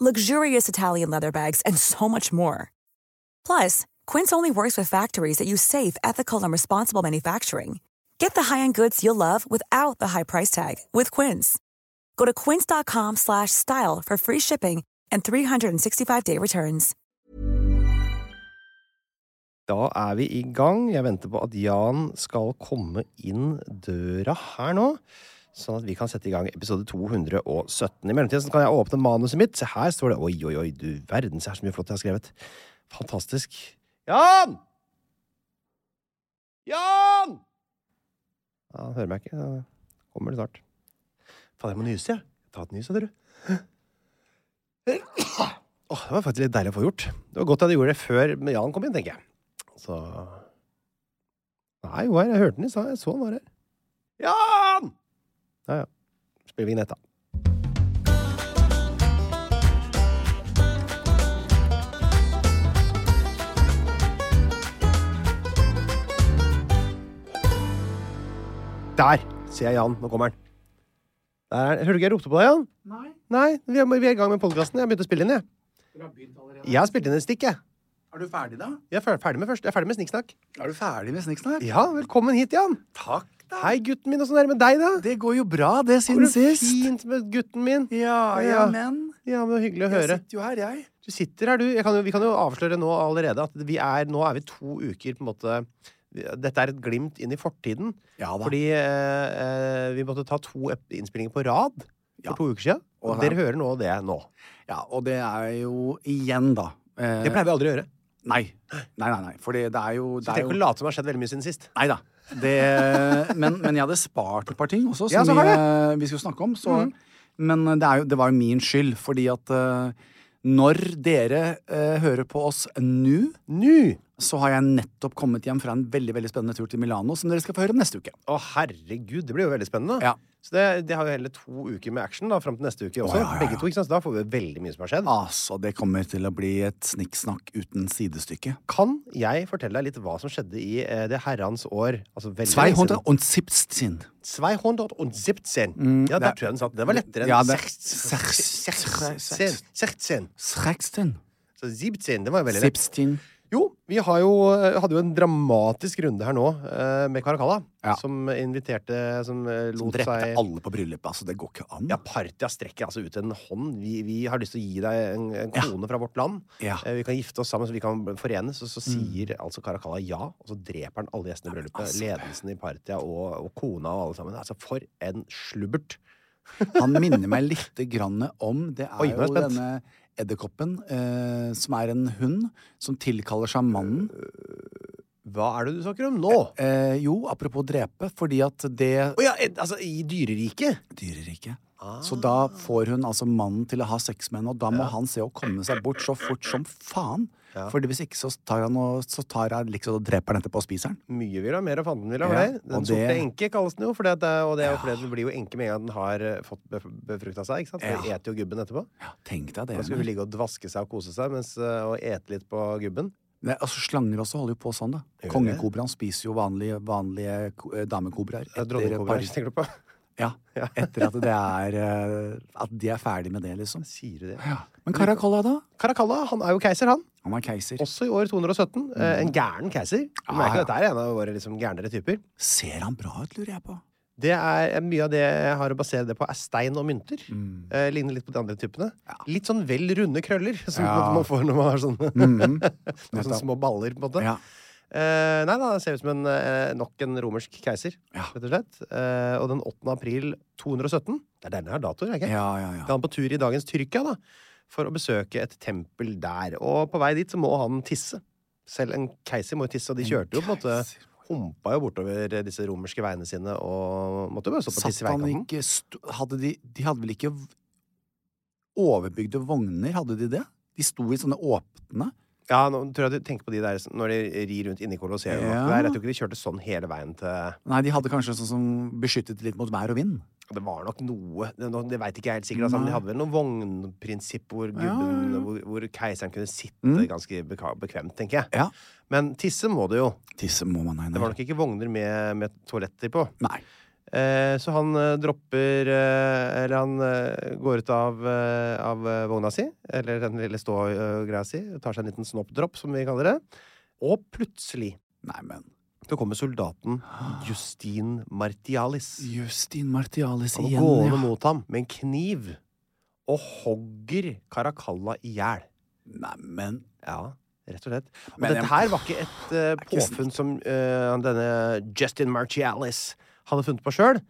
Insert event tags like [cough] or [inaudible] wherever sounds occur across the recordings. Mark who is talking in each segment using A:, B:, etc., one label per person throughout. A: luxurious Italian leather bags, and so much more. Plus, Quince only works with factories that use safe, ethical, and responsible manufacturing. Get the high-end goods you'll love without the high price tag with Quince. Go to quince.com/style slash style for free shipping and 365-day returns.
B: Da er vi i gang. Jeg venter på at Jan skal komme inn døra her nå. Sånn at vi kan sette i gang episode 217. I mellomtiden kan jeg åpne manuset mitt. Se her står det Oi, oi, oi, du verden, se her så mye flott jeg har skrevet. Fantastisk. Jan! Jan! Ja, han hører meg ikke. Han kommer det snart. Faen, jeg må nyse, jeg. Ta et nys, sa du. Åh, det var faktisk litt deilig å få gjort. Det var godt at du gjorde det før Jan kom inn, tenker jeg. Så Nei, jo her. Jeg hørte den i stad. Jeg så den var her. Jan! Ja, ja. Spiller vignett, da. Der! Ser jeg Jan. Nå kommer han. Der er han. Hørte du ikke jeg ropte på deg, Jan?
C: Nei.
B: Nei, vi er, vi er i gang med podkasten. Jeg begynte å spille inn, jeg.
C: Dere har begynt allerede.
B: Jeg har spilt inn et stikk, jeg.
C: Er du ferdig, da?
B: Jeg er fer- ferdig med først. Jeg er ferdig med snikksnakk.
C: Er du ferdig med Snikksnakk?
B: Ja, velkommen hit, Jan.
C: Takk, da.
B: Hei, gutten min. Åssen er det med deg, da?
C: Det går jo bra, det,
B: Går
C: siden
B: det
C: sist.
B: fint med gutten min?
C: Ja, ja,
B: Ja.
C: men
B: Ja, men Hyggelig å
C: Jeg
B: høre.
C: sitter jo her, jeg.
B: Du sitter her, du. Jeg kan jo, vi kan jo avsløre nå allerede at vi er, nå er vi to uker på en måte Dette er et glimt inn i fortiden.
C: Ja da.
B: Fordi eh, eh, vi måtte ta to ep- innspillinger på rad for
C: Ja.
B: to uker siden. Og
C: Og her-
B: dere hører nå det nå.
C: Ja, og det er jo igjen, da. eh,
B: Det pleier vi aldri å gjøre.
C: Nei. Nei, nei, nei. For det er jo,
B: Så
C: det er
B: tenk å
C: jo...
B: late som det har skjedd veldig mye siden sist.
C: Nei da. Det, [laughs] men, men jeg hadde spart et par ting også,
B: Ja,
C: som
B: så har
C: vi, eh, vi skulle snakke om. Så, Men eh, det, er jo, det var jo min skyld, fordi at eh, når dere eh, hører på oss nå
B: Nå!
C: så har jeg nettopp kommet hjem fra en veldig veldig spennende tur til Milano, som dere skal få høre om neste uke.
B: Å, herregud, det blir jo veldig spennende.
C: Ja.
B: Så det, det har jo heller to uker med action da, fram til neste uke også.
C: ja, ja, ja.
B: Begge to, ikke sant? Så da får vi veldig mye som har skjedd.
C: Altså, det kommer til å bli et snikksnakk uten sidestykke.
B: Kan jeg fortelle deg litt hva som skjedde i eh, det herrens år? Altså, veldig lenge siden.
C: 217.
B: 217. ja, der
C: det-
B: tror jeg den satt. Det var lettere enn
C: Ja, det-
B: 16. 16.
C: 16.
B: Så 17, det var veldig lett.
C: 17.
B: Jo, vi har jo, hadde jo en dramatisk runde her nå eh, med Caracalla,
C: Ja.
B: som inviterte Som eh,
C: Som
B: lot
C: drepte
B: seg
C: alle på bryllupet. Altså, det går ikke an.
B: ja, Partia strekker altså ut en hånd. Vi, vi har lyst til å gi deg en, en kone fra vårt land.
C: Ja. Mm.
B: Eh, Vi kan gifte oss sammen, så vi kan forenes. Og så sier altså Caracalla ja, og så dreper han alle gjestene i bryllupet. Ledelsen i Partia og, og kona og alle sammen. Altså, for en slubbert.
C: Han minner meg litt grann om Det er
B: Oi, nå er jeg
C: jo
B: spent.
C: denne edderkoppen, eh, som er en hund, som tilkaller seg mannen.
B: Hva er det du snakker om nå? Å
C: Eh, jo, apropos drepe, fordi at det
B: ja, eh, altså, i dyreriket?
C: dyreriket.
B: Ah.
C: Så da får hun altså mannen til å ha sex med henne, og da må han se å komme seg bort så fort som faen. Fordi hvis ikke så tar han og, så tar han liksom og dreper han etterpå og spiser han.
B: Mye vil ha mer av fanden vil ha
C: Ja,
B: mer. Den
C: og
B: sorte
C: det-
B: enke kalles den jo, for det, at det er- og det er jo fordi den blir jo enke med en gang den har eh, fått befrukta seg. ikke sant? For
C: Ja.
B: eter jo gubben etterpå.
C: Tenk deg det.
B: Da skal hun
C: Emil.
B: ligge og dvaske seg og kose seg mens, eh, og ete litt på gubben.
C: Nei, altså Slanger også holder jo på sånn, da.
B: Gjør det?
C: Kongekobraen spiser jo vanlige, vanlige ko- eh, damekobraer.
B: Eh, Dronningkobra,
C: Paris-
B: tenker du på? [laughs]
C: Ja, etter at det er eh, At de er ferdig med det, liksom.
B: Sier du det?
C: Men Karakolla, da?
B: Caracalla, han er jo keiser, han.
C: Han er keiser.
B: Også i år 217. Eh, En gæren keiser. Du
C: Ja,
B: merker
C: ja.
B: at dette er en av våre liksom gærnere typer. [laughs]
C: Ser han bra ut, lurer jeg på?
B: Det er eh, Mye av det jeg har å basere det på, er stein og mynter. Eh, ligner litt på de andre typene. Litt sånn vel runde krøller, [laughs] som
C: Ja.
B: man får når man har sånne, noen sånne
C: [laughs] Mhm. Nettopp.
B: små baller, på en måte.
C: Ja.
B: Eh, nei da, det ser ut som en, eh, nok en romersk keiser, rett og slett. Eh, og den 8. april 217 Det er denne her datoer, er det ikke?
C: Ja, ja,
B: Skal
C: ja.
B: han på tur i dagens Tyrkia, da, for å besøke et tempel der. Og på vei dit så må han tisse. Selv en keiser må jo tisse, og de kjørte jo på en måte
C: keiser.
B: Humpa jo bortover eh, disse romerske veiene sine og måtte jo bare stå på og
C: Satt
B: tisse i
C: han
B: veikanten.
C: ikke st hadde de, de hadde vel ikke v- overbygde vogner, hadde de det? De sto i sånne åpne
B: Ja, nå tror jeg du tenker på de der som- når de rir rundt inni Colosseum. og alt det
C: Ja.
B: der. Jeg tror ikke de kjørte sånn hele veien til
C: Nei, de hadde kanskje sånn som beskyttet litt mot vær og vind.
B: Det var nok noe Det, nå- det veit ikke jeg helt sikkert, altså, men de hadde vel noe vognprinsipp hvor, gubben, hvor, hvor keiseren kunne sitte ganske beka- bekvemt, tenker jeg.
C: Ja.
B: Men tisse må det jo.
C: Tisse må man ha
B: Det var nok ikke vogner med, med toaletter på.
C: Nei.
B: Eh, så han eh, dropper eh, Eller han eh, går ut av, eh, av eh, vogna si, eller den lille stågreia si, og tar seg en liten snoppdropp, som vi kaller det. Og plutselig
C: Nei, men
B: så kommer soldaten Justin Martialis.
C: Justin Martialis
B: Han
C: igjen,
B: går
C: ja.
B: mot ham med en kniv og hogger Caracalla i hjel.
C: Nei, men
B: Ja, rett og slett. Og
C: Men jeg-
B: dette her var ikke et eh,
C: ikke sant.
B: påfunn som eh, han denne Justin Martialis hadde funnet på sjøl.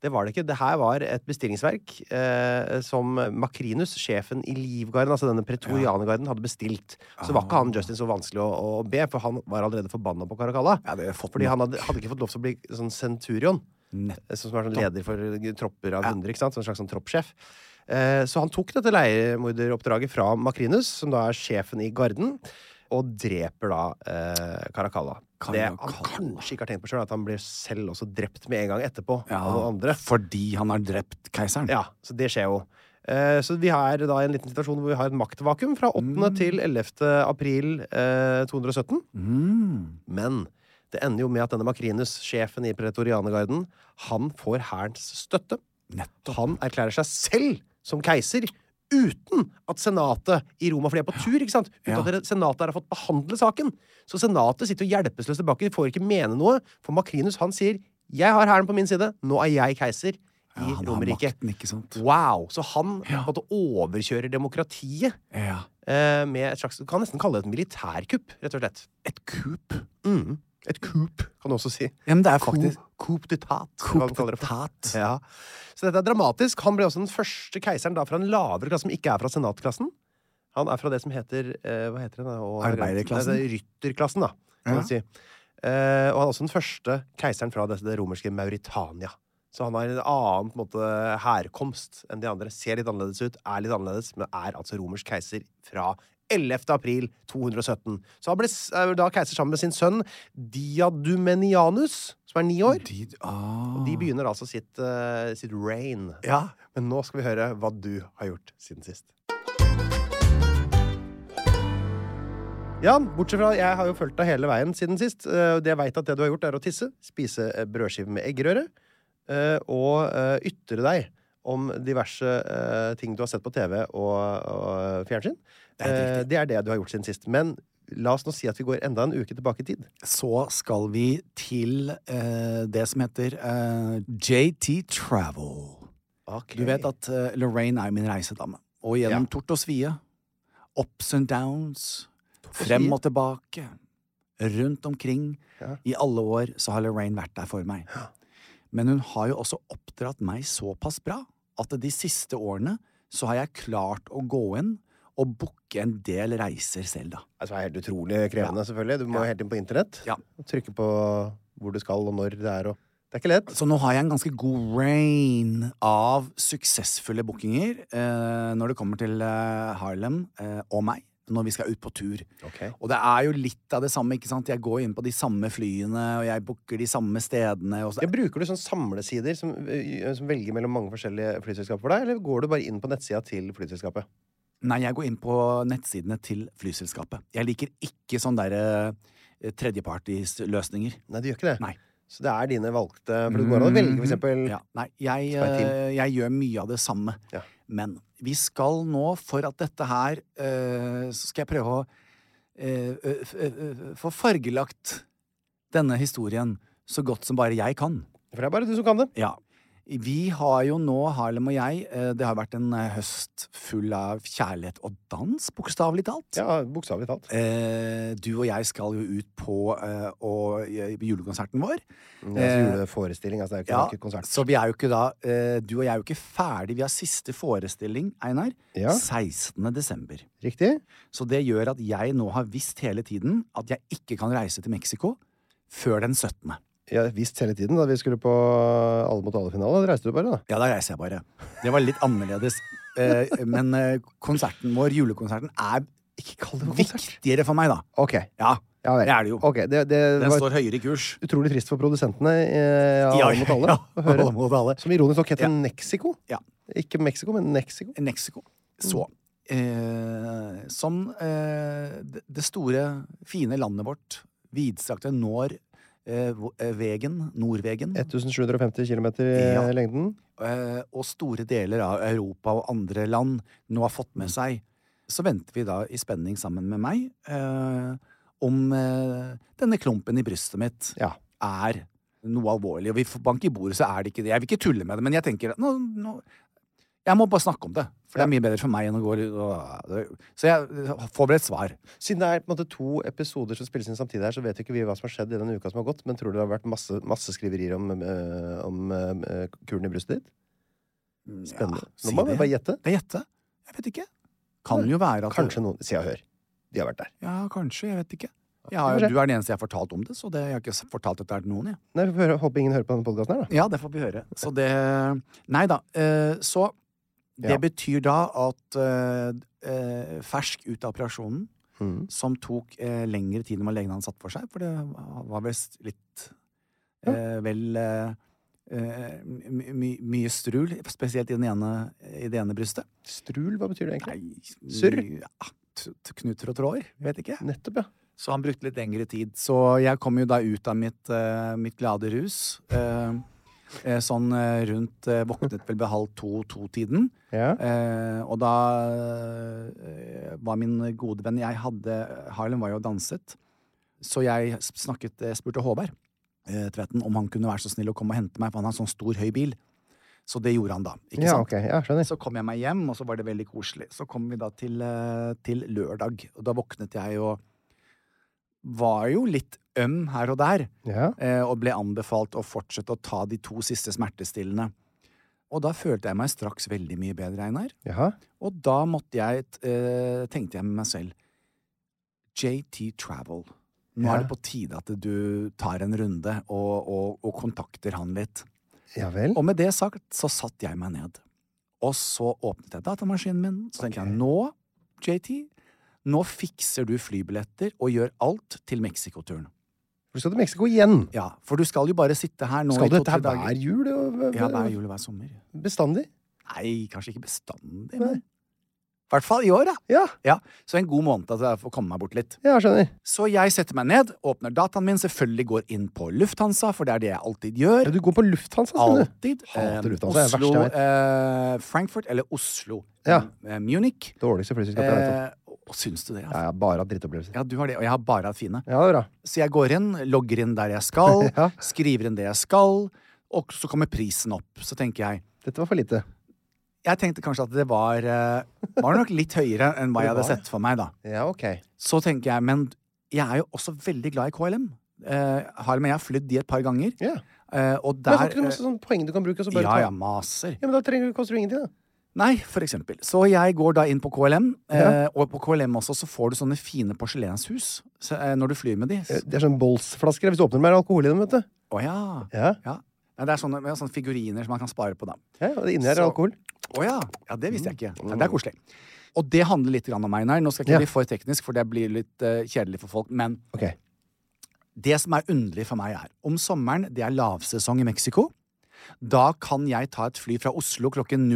B: Det var det ikke. Det her var et bestillingsverk eh, som Makrinus, sjefen i Livgarden, altså denne pretorianergarden, hadde bestilt. Så var
C: Ah.
B: ikke han Justin så vanskelig å, å be, for han var allerede forbanna på Caracalla.
C: Ja, det har jeg fått
B: fordi
C: nok.
B: han hadde, hadde ikke fått lov til å bli sånn centurion.
C: Nett-
B: eh, Som er sånn leder for tropper av hundre. ikke sant? Sånn slags sånn troppssjef. Eh, Så han tok dette leiemorderoppdraget fra Makrinus, som da er sjefen i garden, og dreper da eh, Caracalla. Det han
C: Caracalla.
B: kanskje ikke har tenkt på sjøl, at han blir selv også drept med en gang etterpå.
C: ja,
B: av noen andre.
C: Fordi han har drept keiseren.
B: Ja, så det skjer jo. Eh, Så vi har da en liten situasjon hvor vi har et maktvakuum fra 8. til 11. april eh, 217.
C: Mm.
B: Men det ender jo med at denne Makrinus, sjefen i pretorianergarden, han får hærens støtte. Han erklærer seg selv som keiser. Uten at senatet i Roma For de er på tur, ikke sant? Uten
C: Ja.
B: at senatet her har fått behandle saken. Så senatet sitter jo hjelpeløst tilbake. De får ikke mene noe. For Makrinus han sier 'Jeg har hæren på min side. Nå er jeg keiser'
C: Ja,
B: i
C: han har
B: Romerriket.
C: makten, ikke sant?
B: Wow! Så han
C: Ja.
B: på en måte overkjører demokratiet
C: Ja.
B: eh, med et slags Du kan nesten kalle det et militærkupp, rett og slett. Mm.
C: Et kup.
B: Et kupp, kan du også si.
C: Ja, men det er
B: Coup-
C: faktisk
B: Coup d'etat.
C: Coup
B: hva de kaller det for.
C: d'etat.
B: Ja. Så dette er dramatisk. Han ble også den første keiseren da fra en lavere klasse, som ikke er fra senatklassen. Han er fra det som heter eh, Hva heter den? da? Og-
C: Arbeiderklassen?
B: Nei, det er rytterklassen, da. Kan
C: Ja.
B: man si. Eh, og han er også den første keiseren fra det, det romerske Mauritania. Så han har en annen på en måte, herkomst enn de andre. Ser litt annerledes ut, er litt annerledes, men er altså romersk keiser fra 11. april 217. Så han ble s- er da keiser sammen med sin sønn Diadumenianus, som er ni år.
C: de, ah.
B: De begynner altså sitt, eh, sitt reign.
C: Ja.
B: Men nå skal vi høre hva du har gjort siden sist. Jan, bortsett fra jeg har jo fulgt deg hele veien siden sist. eh, og Det jeg vet at det du har gjort, er å tisse, spise eh, brødskive med eggerøre eh, og eh, ytre deg om diverse eh, ting du har sett på TV og, og fjernsyn.
C: Det er helt
B: Eh,
C: riktig.
B: Det er det du har gjort siden sist. Men la oss nå si at vi går enda en uke tilbake i tid.
C: Så skal vi til eh, det som heter eh, JT Travel. Du vet at eh, Lorraine er min reisedame. Og gjennom
B: Ja.
C: tort og svie, ups and downs, frem og tilbake, rundt omkring, i alle år så har Lorraine vært der for meg. Men hun har jo også oppdratt meg såpass bra at de siste årene så har jeg klart å gå inn og booke en del reiser selv, da.
B: Altså, det er helt utrolig krevende, selvfølgelig. Du må helt inn på internett.
C: Ja.
B: Og trykke på hvor du skal, og når det er, og Det er ikke lett.
C: Så nå har jeg en ganske god rain av suksessfulle bookinger eh, når det kommer til eh, Harlem eh, og meg når vi skal ut på tur.
B: Ok.
C: Og det er jo litt av det samme. ikke sant? Jeg går inn på de samme flyene, og jeg booker de samme stedene. Og så...
B: Ja, bruker du sånne samlesider som, ø, som velger mellom mange forskjellige flyselskaper for deg, eller går du bare inn på nettsida til flyselskapet?
C: Nei, jeg går inn på nettsidene til flyselskapet. Jeg liker ikke sånne derre eh, tredjepartsløsninger.
B: Nei, du gjør ikke det.
C: Nei. Mhm,
B: Så det er dine valgte For det går an å velge, for eksempel.
C: Ja, nei, jeg,
B: Mm. Skal jeg til?
C: eh, jeg gjør mye av det samme.
B: Ja.
C: Men vi skal nå, for at dette her eh, Så skal jeg prøve å eh, ø- f- ø- ø- få fargelagt denne historien så godt som bare jeg kan.
B: For det er bare du som kan det.
C: Ja. Vi har jo nå, Harlem og jeg, eh, det har vært en eh, høst full av kjærlighet og dans, bokstavelig talt.
B: Ja, Bokstavelig talt.
C: Eh, du og jeg skal jo ut på eh, og, eh, julekonserten vår.
B: Mm, altså, juleforestilling. Altså, det er jo ikke, det er ikke konsert.
C: Så vi er jo ikke da eh, Du og jeg er jo ikke ferdig. Vi har siste forestilling, Einar.
B: Ja.
C: 16. desember.
B: Riktig?
C: Så det gjør at jeg nå har visst hele tiden at jeg ikke kan reise til Mexico før den 17.
B: Jeg har visst hele tiden da vi skulle på Alle mot alle-finale. Da reiste du bare, da.
C: Ja, da reiser jeg bare. Det var litt annerledes. [laughs] Eh, men eh, konserten vår, julekonserten, er
B: Ikke kall det
C: viktigere for meg, da.
B: Ok.
C: Ja,
B: Ja vel.
C: det er det jo.
B: Ok, det, det
C: Den
B: var
C: står høyere i kurs.
B: utrolig trist for produsentene eh, av Alle
C: [laughs]
B: mot alle. å høre.
C: alle mot alle.
B: Som ironisk nok heter
C: Ja.
B: Mexico.
C: Ja.
B: Ikke Mexico, men Mexico.
C: Mexico. Så eh, Som eh, det- det store, fine landet vårt, vidstrakte, når eh, vo- eh, vegen, Nordvegen,
B: 1750 km i
C: Mm. Ja.
B: lengden.
C: eh, og store deler av Europa og andre land nå har fått med seg, så venter vi da i spenning sammen med meg eh, om eh, denne klumpen i brystet mitt
B: Ja.
C: er noe alvorlig. Og vi får bank i bordet, så er det ikke det. Jeg vil ikke tulle med det, men jeg tenker at nå, nå Jeg må bare snakke om det. For det er mye bedre for meg enn å gå og- Så jeg får vel et svar.
B: Siden det er på en måte to episoder som spilles inn samtidig, her, så vet jo ikke vi hva som har skjedd i den uka som har gått, men tror du det har vært masse, masse skriverier om, eh, om eh, kulen i brystet ditt? Spennende.
C: Ja, si
B: Nå må vi
C: det.
B: bare gjette.
C: Det er gjette. Jeg vet ikke. Kan jo være at
B: Kanskje noen Se og Hør. De har vært der.
C: Ja, kanskje. Jeg vet ikke. Jeg
B: vi
C: har,
B: får se.
C: du er den eneste jeg har fortalt om det, så det, jeg har ikke s- fortalt dette til noen. jeg.
B: Nei, vi får høre- Håper ingen hører på denne podkasten her, da.
C: Ja, det får vi høre. Så det Nei da. eh, Så det
B: Ja.
C: betyr da at eh, eh, fersk ut av operasjonen,
B: Mm.
C: som tok eh, lengre tid enn hva legen hadde satt for seg, for det var visst litt eh, vel eh, eh, my, my, Mye strul, spesielt i, den ene, i det ene brystet.
B: Strul, hva betyr det egentlig? Surr?
C: Surr? Ja, t- t- knuter og tråder. Vet ikke.
B: Nettopp, ja.
C: Så han brukte litt lengre tid. Så jeg kom jo da ut av mitt, eh, mitt glade rus. eh, eh, sånn eh, rundt eh, Våknet vel ved halv to-to-tiden.
B: Ja.
C: Eh, og da eh, var min gode venn Jeg hadde Harlem var jo og danset. Så jeg s- snakket, jeg spurte Håvard eh, Tvetten om han kunne være så snill å komme og hente meg, for han har en sånn stor, høy bil. Så det gjorde han da. Ikke
B: ja,
C: sant?
B: ok. Ja, skjønner.
C: Så kom jeg meg hjem, og så var det veldig koselig. Så kom vi da til, eh, til lørdag, og da våknet jeg og var jo litt øm her og der,
B: Ja.
C: eh, og ble anbefalt å fortsette å ta de to siste smertestillende. Og da følte jeg meg straks veldig mye bedre, Einar.
B: Jaha.
C: Og da måtte jeg, t- eh, tenkte jeg med meg selv, JT Travel. Nå
B: Ja.
C: er det på tide at du tar en runde og, og, og kontakter han litt.
B: Ja vel.
C: Og med det sagt, så satt jeg meg ned. Og så åpnet jeg datamaskinen min. Så tenkte
B: Ok.
C: jeg nå, JT, nå fikser du flybilletter og gjør alt til Mexico-turen.
B: Du skal til Mexico igjen.
C: Ja, for du skal jo bare sitte her nå
B: Skal du
C: i
B: dette
C: to-tre
B: her
C: dager.
B: hver jul? og-
C: Ja, hver jul og hver sommer.
B: Bestandig?
C: Nei, kanskje ikke bestandig, men i hvert fall i år, da.
B: Ja.
C: Ja, Så en god måned til jeg får komme meg bort litt.
B: Ja, skjønner.
C: Så jeg setter meg ned, åpner dataen min, selvfølgelig går inn på Lufthansa, for det er det jeg alltid gjør.
B: Ja, du går på Lufthansa, sier du.
C: Alltid.
B: Hater
C: Eh,
B: Lufthansa, det er det
C: Oslo,
B: verste
C: eh, Frankfurt eller Oslo.
B: Ja.
C: Eh, Munich.
B: Dårligste flyselskapet jeg vet om.
C: Eh, og syns du det?
B: Ja,
C: Altså?
B: jeg har bare hatt drittopplevelser.
C: Ja, du har det, og jeg har bare hatt fine.
B: Ja, det er bra.
C: Så jeg går inn, logger inn der jeg skal,
B: [laughs] Ja.
C: skriver inn det jeg skal, og så kommer prisen opp. Så tenker jeg
B: Dette var for lite.
C: Jeg tenkte kanskje at det var eh, Var nok litt høyere enn hva jeg
B: var
C: hadde
B: det.
C: sett for meg, da.
B: Ja, ok.
C: Så tenker jeg, men jeg er jo også veldig glad i KLM. Eh, Harlem og jeg har flydd de et par ganger,
B: Ja.
C: eh, og
B: Men
C: der
B: har ikke du masse sånn- sånne poeng du kan bruke? og Så
C: eh,
B: bare
C: Ja,
B: ta-
C: ja, maser.
B: ja, men Da trenger du, koster det ingenting, da.
C: Nei, for eksempel. Så jeg går da inn på KLM,
B: Ja.
C: eh, og på KLM også så får du sånne fine porselenshus så, eh, når du flyr med de.
B: Eh,
C: S-
B: Det er sånn bolsflasker. Hvis du åpner dem, er det alkohol i dem. vet du.
C: Å ja.
B: Ja,
C: ja. Nei, Det er sånne, med sånne figuriner som man kan spare på, da.
B: ja og Inni her er
C: Så-
B: alkohol.
C: Å ja. ja. Det visste jeg ikke. Ja, det er koselig. Og det handler litt grann om Einar. Nå skal jeg
B: Ja.
C: ikke bli for teknisk, for det blir litt eh, kjedelig for folk. Men
B: Ok.
C: det som er underlig for meg, er om sommeren, det er lavsesong i Mexico, da kan jeg ta et fly fra Oslo klokken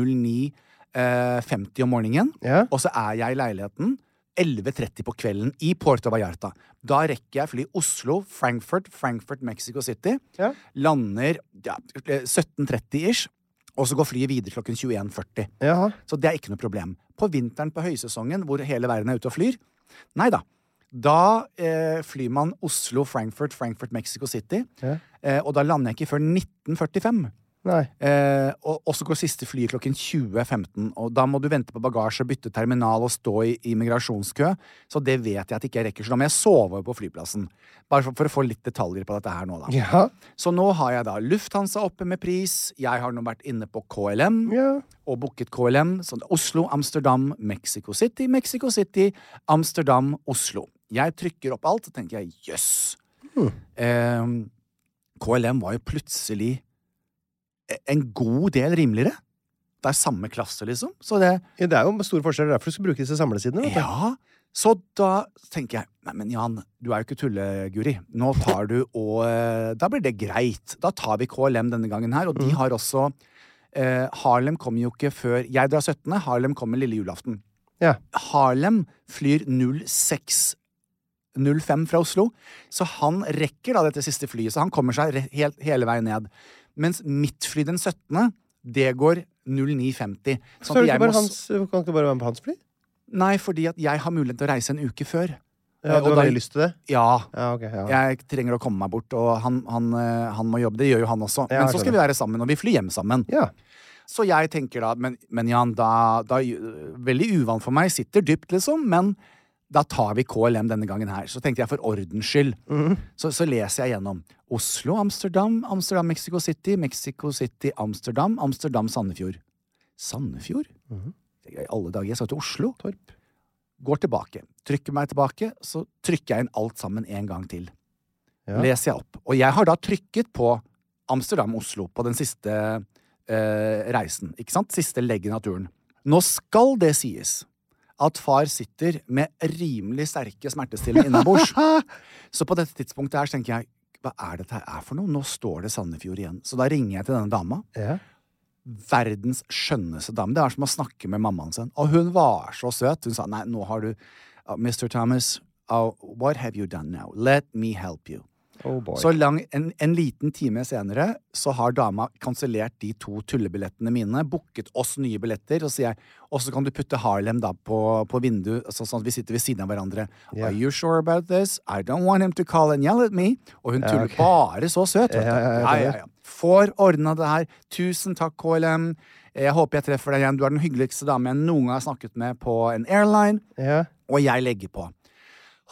C: 09.50 om morgenen.
B: Ja.
C: Og så er jeg i leiligheten 11.30 på kvelden i Puerto Vallarta. Da rekker jeg fly Oslo, Frankfurt, Frankfurt, Mexico City.
B: Ja.
C: Lander ja, eh, 17.30-ish. Og så går flyet videre klokken 21.40.
B: Jaha.
C: Så det er ikke noe problem. På vinteren på høysesongen, hvor hele verden er ute og flyr Nei da. Da eh, flyr man Oslo-Frankfurt, Frankfurt-Mexico City.
B: Ja.
C: Eh, og da lander jeg ikke før 1945.
B: Nei.
C: Eh, og, og så går siste flyet klokken 20.15. Og da må du vente på bagasje, bytte terminal og stå i immigrasjonskø. Så det vet jeg at ikke jeg rekker, så da må jeg sove på flyplassen. Bare for, for å få litt detaljer på dette her nå, da.
B: Ja.
C: Så nå har jeg da Lufthansa oppe med pris. Jeg har nå vært inne på KLM
B: Ja.
C: og booket KLM. Så det er sånn Oslo, Amsterdam, Mexico City, Mexico City, Amsterdam, Oslo. Jeg trykker opp alt, så tenker jeg jøss. Eh, KLM var jo plutselig e- en god del rimeligere. Det er samme klasse, liksom. Så det
B: Ja, Det er jo store forskjeller. Derfor du skal bruke disse samlesidene. vet du.
C: ja. Så da tenker jeg Nei, men Jan, du er jo ikke tulleguri. Nå tar du og eh, Da blir det greit. Da tar vi KLM denne gangen her, og
B: Mm.
C: de har også eh, Harlem kommer jo ikke før Jeg drar 17., Harlem kommer lille julaften.
B: Ja.
C: Harlem flyr 06.05 fra Oslo, så han rekker da dette siste flyet. Så han kommer seg re- helt, hele veien ned. Mens mitt fly den 17., det går 09.50.
B: Så er det
C: Sånn jeg
B: ikke bare
C: må s-
B: hans, kan du ikke bare være med på hans fly?
C: Nei, fordi at jeg har mulighet til å reise en uke før.
B: Ja,
C: Eh,
B: du
C: og
B: har
C: da-
B: veldig lyst til det?
C: Ja.
B: Ja, ok. Ja.
C: Jeg trenger å komme meg bort, og han, han, eh, han må jobbe. Det gjør jo han også.
B: Ja,
C: Men
B: jeg
C: så skal vi være sammen, og vi flyr hjem sammen.
B: ja.
C: Så jeg tenker da Men, men Jan, da, da øh, Veldig uvant for meg. Sitter dypt, liksom. Men da tar vi KLM denne gangen her. Så tenkte jeg for ordens skyld. Så, så leser jeg gjennom. Oslo, Amsterdam, Amsterdam, Mexico City, Mexico City, Amsterdam, Amsterdam, Sandefjord. Sandefjord? Tenker jeg, I alle dager. Jeg skal til Oslo. Torp. Går tilbake. Trykker meg tilbake, så trykker jeg inn alt sammen en gang til.
B: Ja.
C: Leser jeg opp. Og jeg har da trykket på Amsterdam-Oslo på den siste eh, reisen. Ikke sant? Siste leggen av turen. Nå skal det sies at far sitter med rimelig sterke smertestillende innabords. så på dette tidspunktet her så tenker jeg hva er dette her er for noe? Nå står det Sandefjord igjen. Så da ringer jeg til denne dama
B: ja.
C: verdens skjønneste dame. Det var som å snakke med mammaen sin. Og hun var så søt. Hun sa nei, nå har du uh, Mr. Thomas, uh, what have you done now? Let me help you.
B: Oh boy.
C: Så lang, en, en liten time senere så har dama kansellert de to tullebillettene mine, booket oss nye billetter, og sier jeg, og så kan du putte Harlem da på, på vinduet, så, sånn at vi sitter ved siden av hverandre.
B: Ja.
C: Are you sure about this? I don't want him to call and yell at me. Og hun tuller
B: ok.
C: bare så søt, vet du.
B: Ja, ja, ja, jeg
C: ja, ja, ja. Får ordna det her. Tusen takk, KLM. Jeg håper jeg treffer deg igjen. Du er den hyggeligste dama jeg noen gang har snakket med på en airline.
B: ja.
C: Og jeg legger på.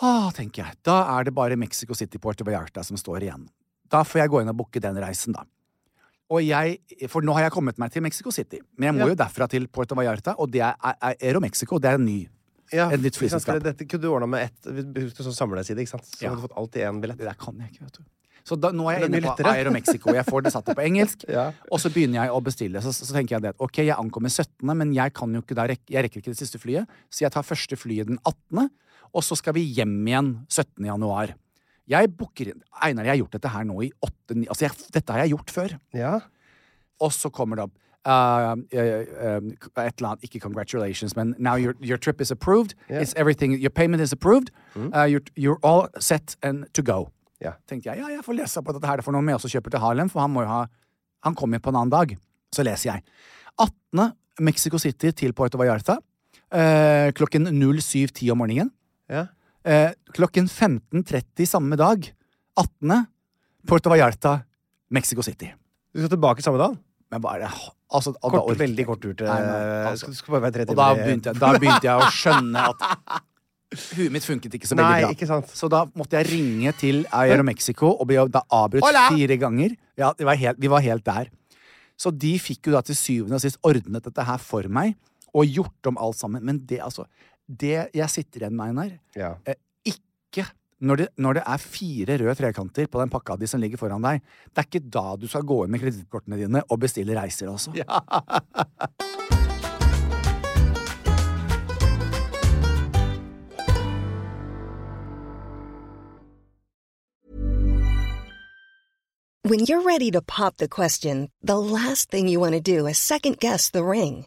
C: Ah, tenker jeg. Da er det bare Mexico City Puerto Vallarta som står igjen. Da får jeg gå inn og booke den reisen, da. Og jeg, For nå har jeg kommet meg til Mexico City. Men jeg må jo derfra til Puerto Vallarta, og det er, er Aeromexico. Det er en ny.
B: ja.
C: Et nytt
B: ikke sant, for
C: flyselskap.
B: Dette kunne du ordna med ett vi brukte sånn samleside, ikke sant? Så
C: Ja.
B: hadde du fått alt i én billett.
C: Det der kan jeg ikke, vet du. Så da, nå er jeg
B: Men det
C: inne
B: er mye
C: på
B: lettere.
C: Aeromexico. Jeg får det satt opp på [laughs] engelsk.
B: Ja.
C: Og så begynner jeg å bestille. Så, så tenker jeg det at ok, jeg ankommer 17., men jeg, kan jo ikke da rekke, jeg rekker ikke det siste flyet, så jeg tar første flyet den 18., og så skal vi hjem igjen 17. januar. Jeg booker inn Einar, jeg har gjort dette her nå i åtte ni- Altså, jeg, dette har jeg gjort før.
B: Ja.
C: Og så kommer det opp eh, eh, eh, et eller annet, ikke congratulations, men now your, your trip is approved. It's everything, your payment is approved. Eh, you're, you're all set and to go.
B: Ja.
C: Tenkte jeg, ja, jeg får lese på dette her, for noe med også kjøper til Harlem, for han må jo ha, han kommer jo på en annen dag. Så leser jeg. 18. Mexico City til Puerto Vallarta, eh, klokken 07.10 om morgenen.
B: Ja.
C: Eh, klokken 15.30 samme dag, 18. Puerto Vallarta, Mexico City.
B: Du skal tilbake samme dag?
C: Men bare altså, og da
B: Kort,
C: orker jeg
B: veldig
C: ikke.
B: kort tur til
C: Nei, nei,
B: skal-
C: altså.
B: det skal bare være tre
C: Og
B: timer.
C: da begynte, jeg, da begynte jeg å skjønne at Huet mitt funket ikke så veldig
B: Nei,
C: bra.
B: ikke sant.
C: Så da måtte jeg ringe til Aeromexico og ble da avbrutt
B: Hola!
C: fire ganger. Ja, det var helt, Vi var helt der. Så de fikk jo da til syvende og sist ordnet dette her for meg, og gjort om alt sammen. Men det, altså Det jeg sitter igjen med, Einar
B: Ja.
C: eh, Ikke når det, når det er fire røde trekanter på den pakka di som ligger foran deg. Det er ikke da du skal gå inn med kredittkortene dine og bestille reiser, altså.
D: When you're ready to pop the question, the last thing you want to do is second guess the ring.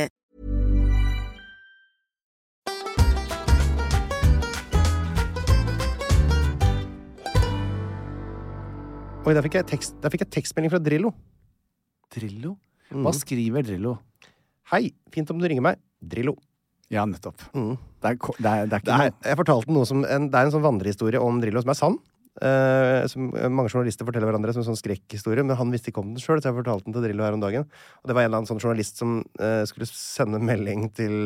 B: Oi, der fikk jeg, tekst, der fikk jeg tekstmelding fra Drillo.
C: Drillo?
B: Mm.
C: Hva skriver Drillo?
B: Hei, fint om du ringer meg. Drillo.
C: Ja, nettopp.
B: Mm.
C: Det er, ko- det er, det
B: Det
C: er ikke
B: er,
C: noe
B: jeg fortalte noe som en, det er en sånn vandrehistorie om Drillo som er sann. eh, som mange journalister forteller hverandre som en sånn skrekkhistorie, men han visste ikke om den sjøl, så jeg fortalte den til Drillo her om dagen. Og det var en eller annen sånn journalist som eh, skulle sende en melding til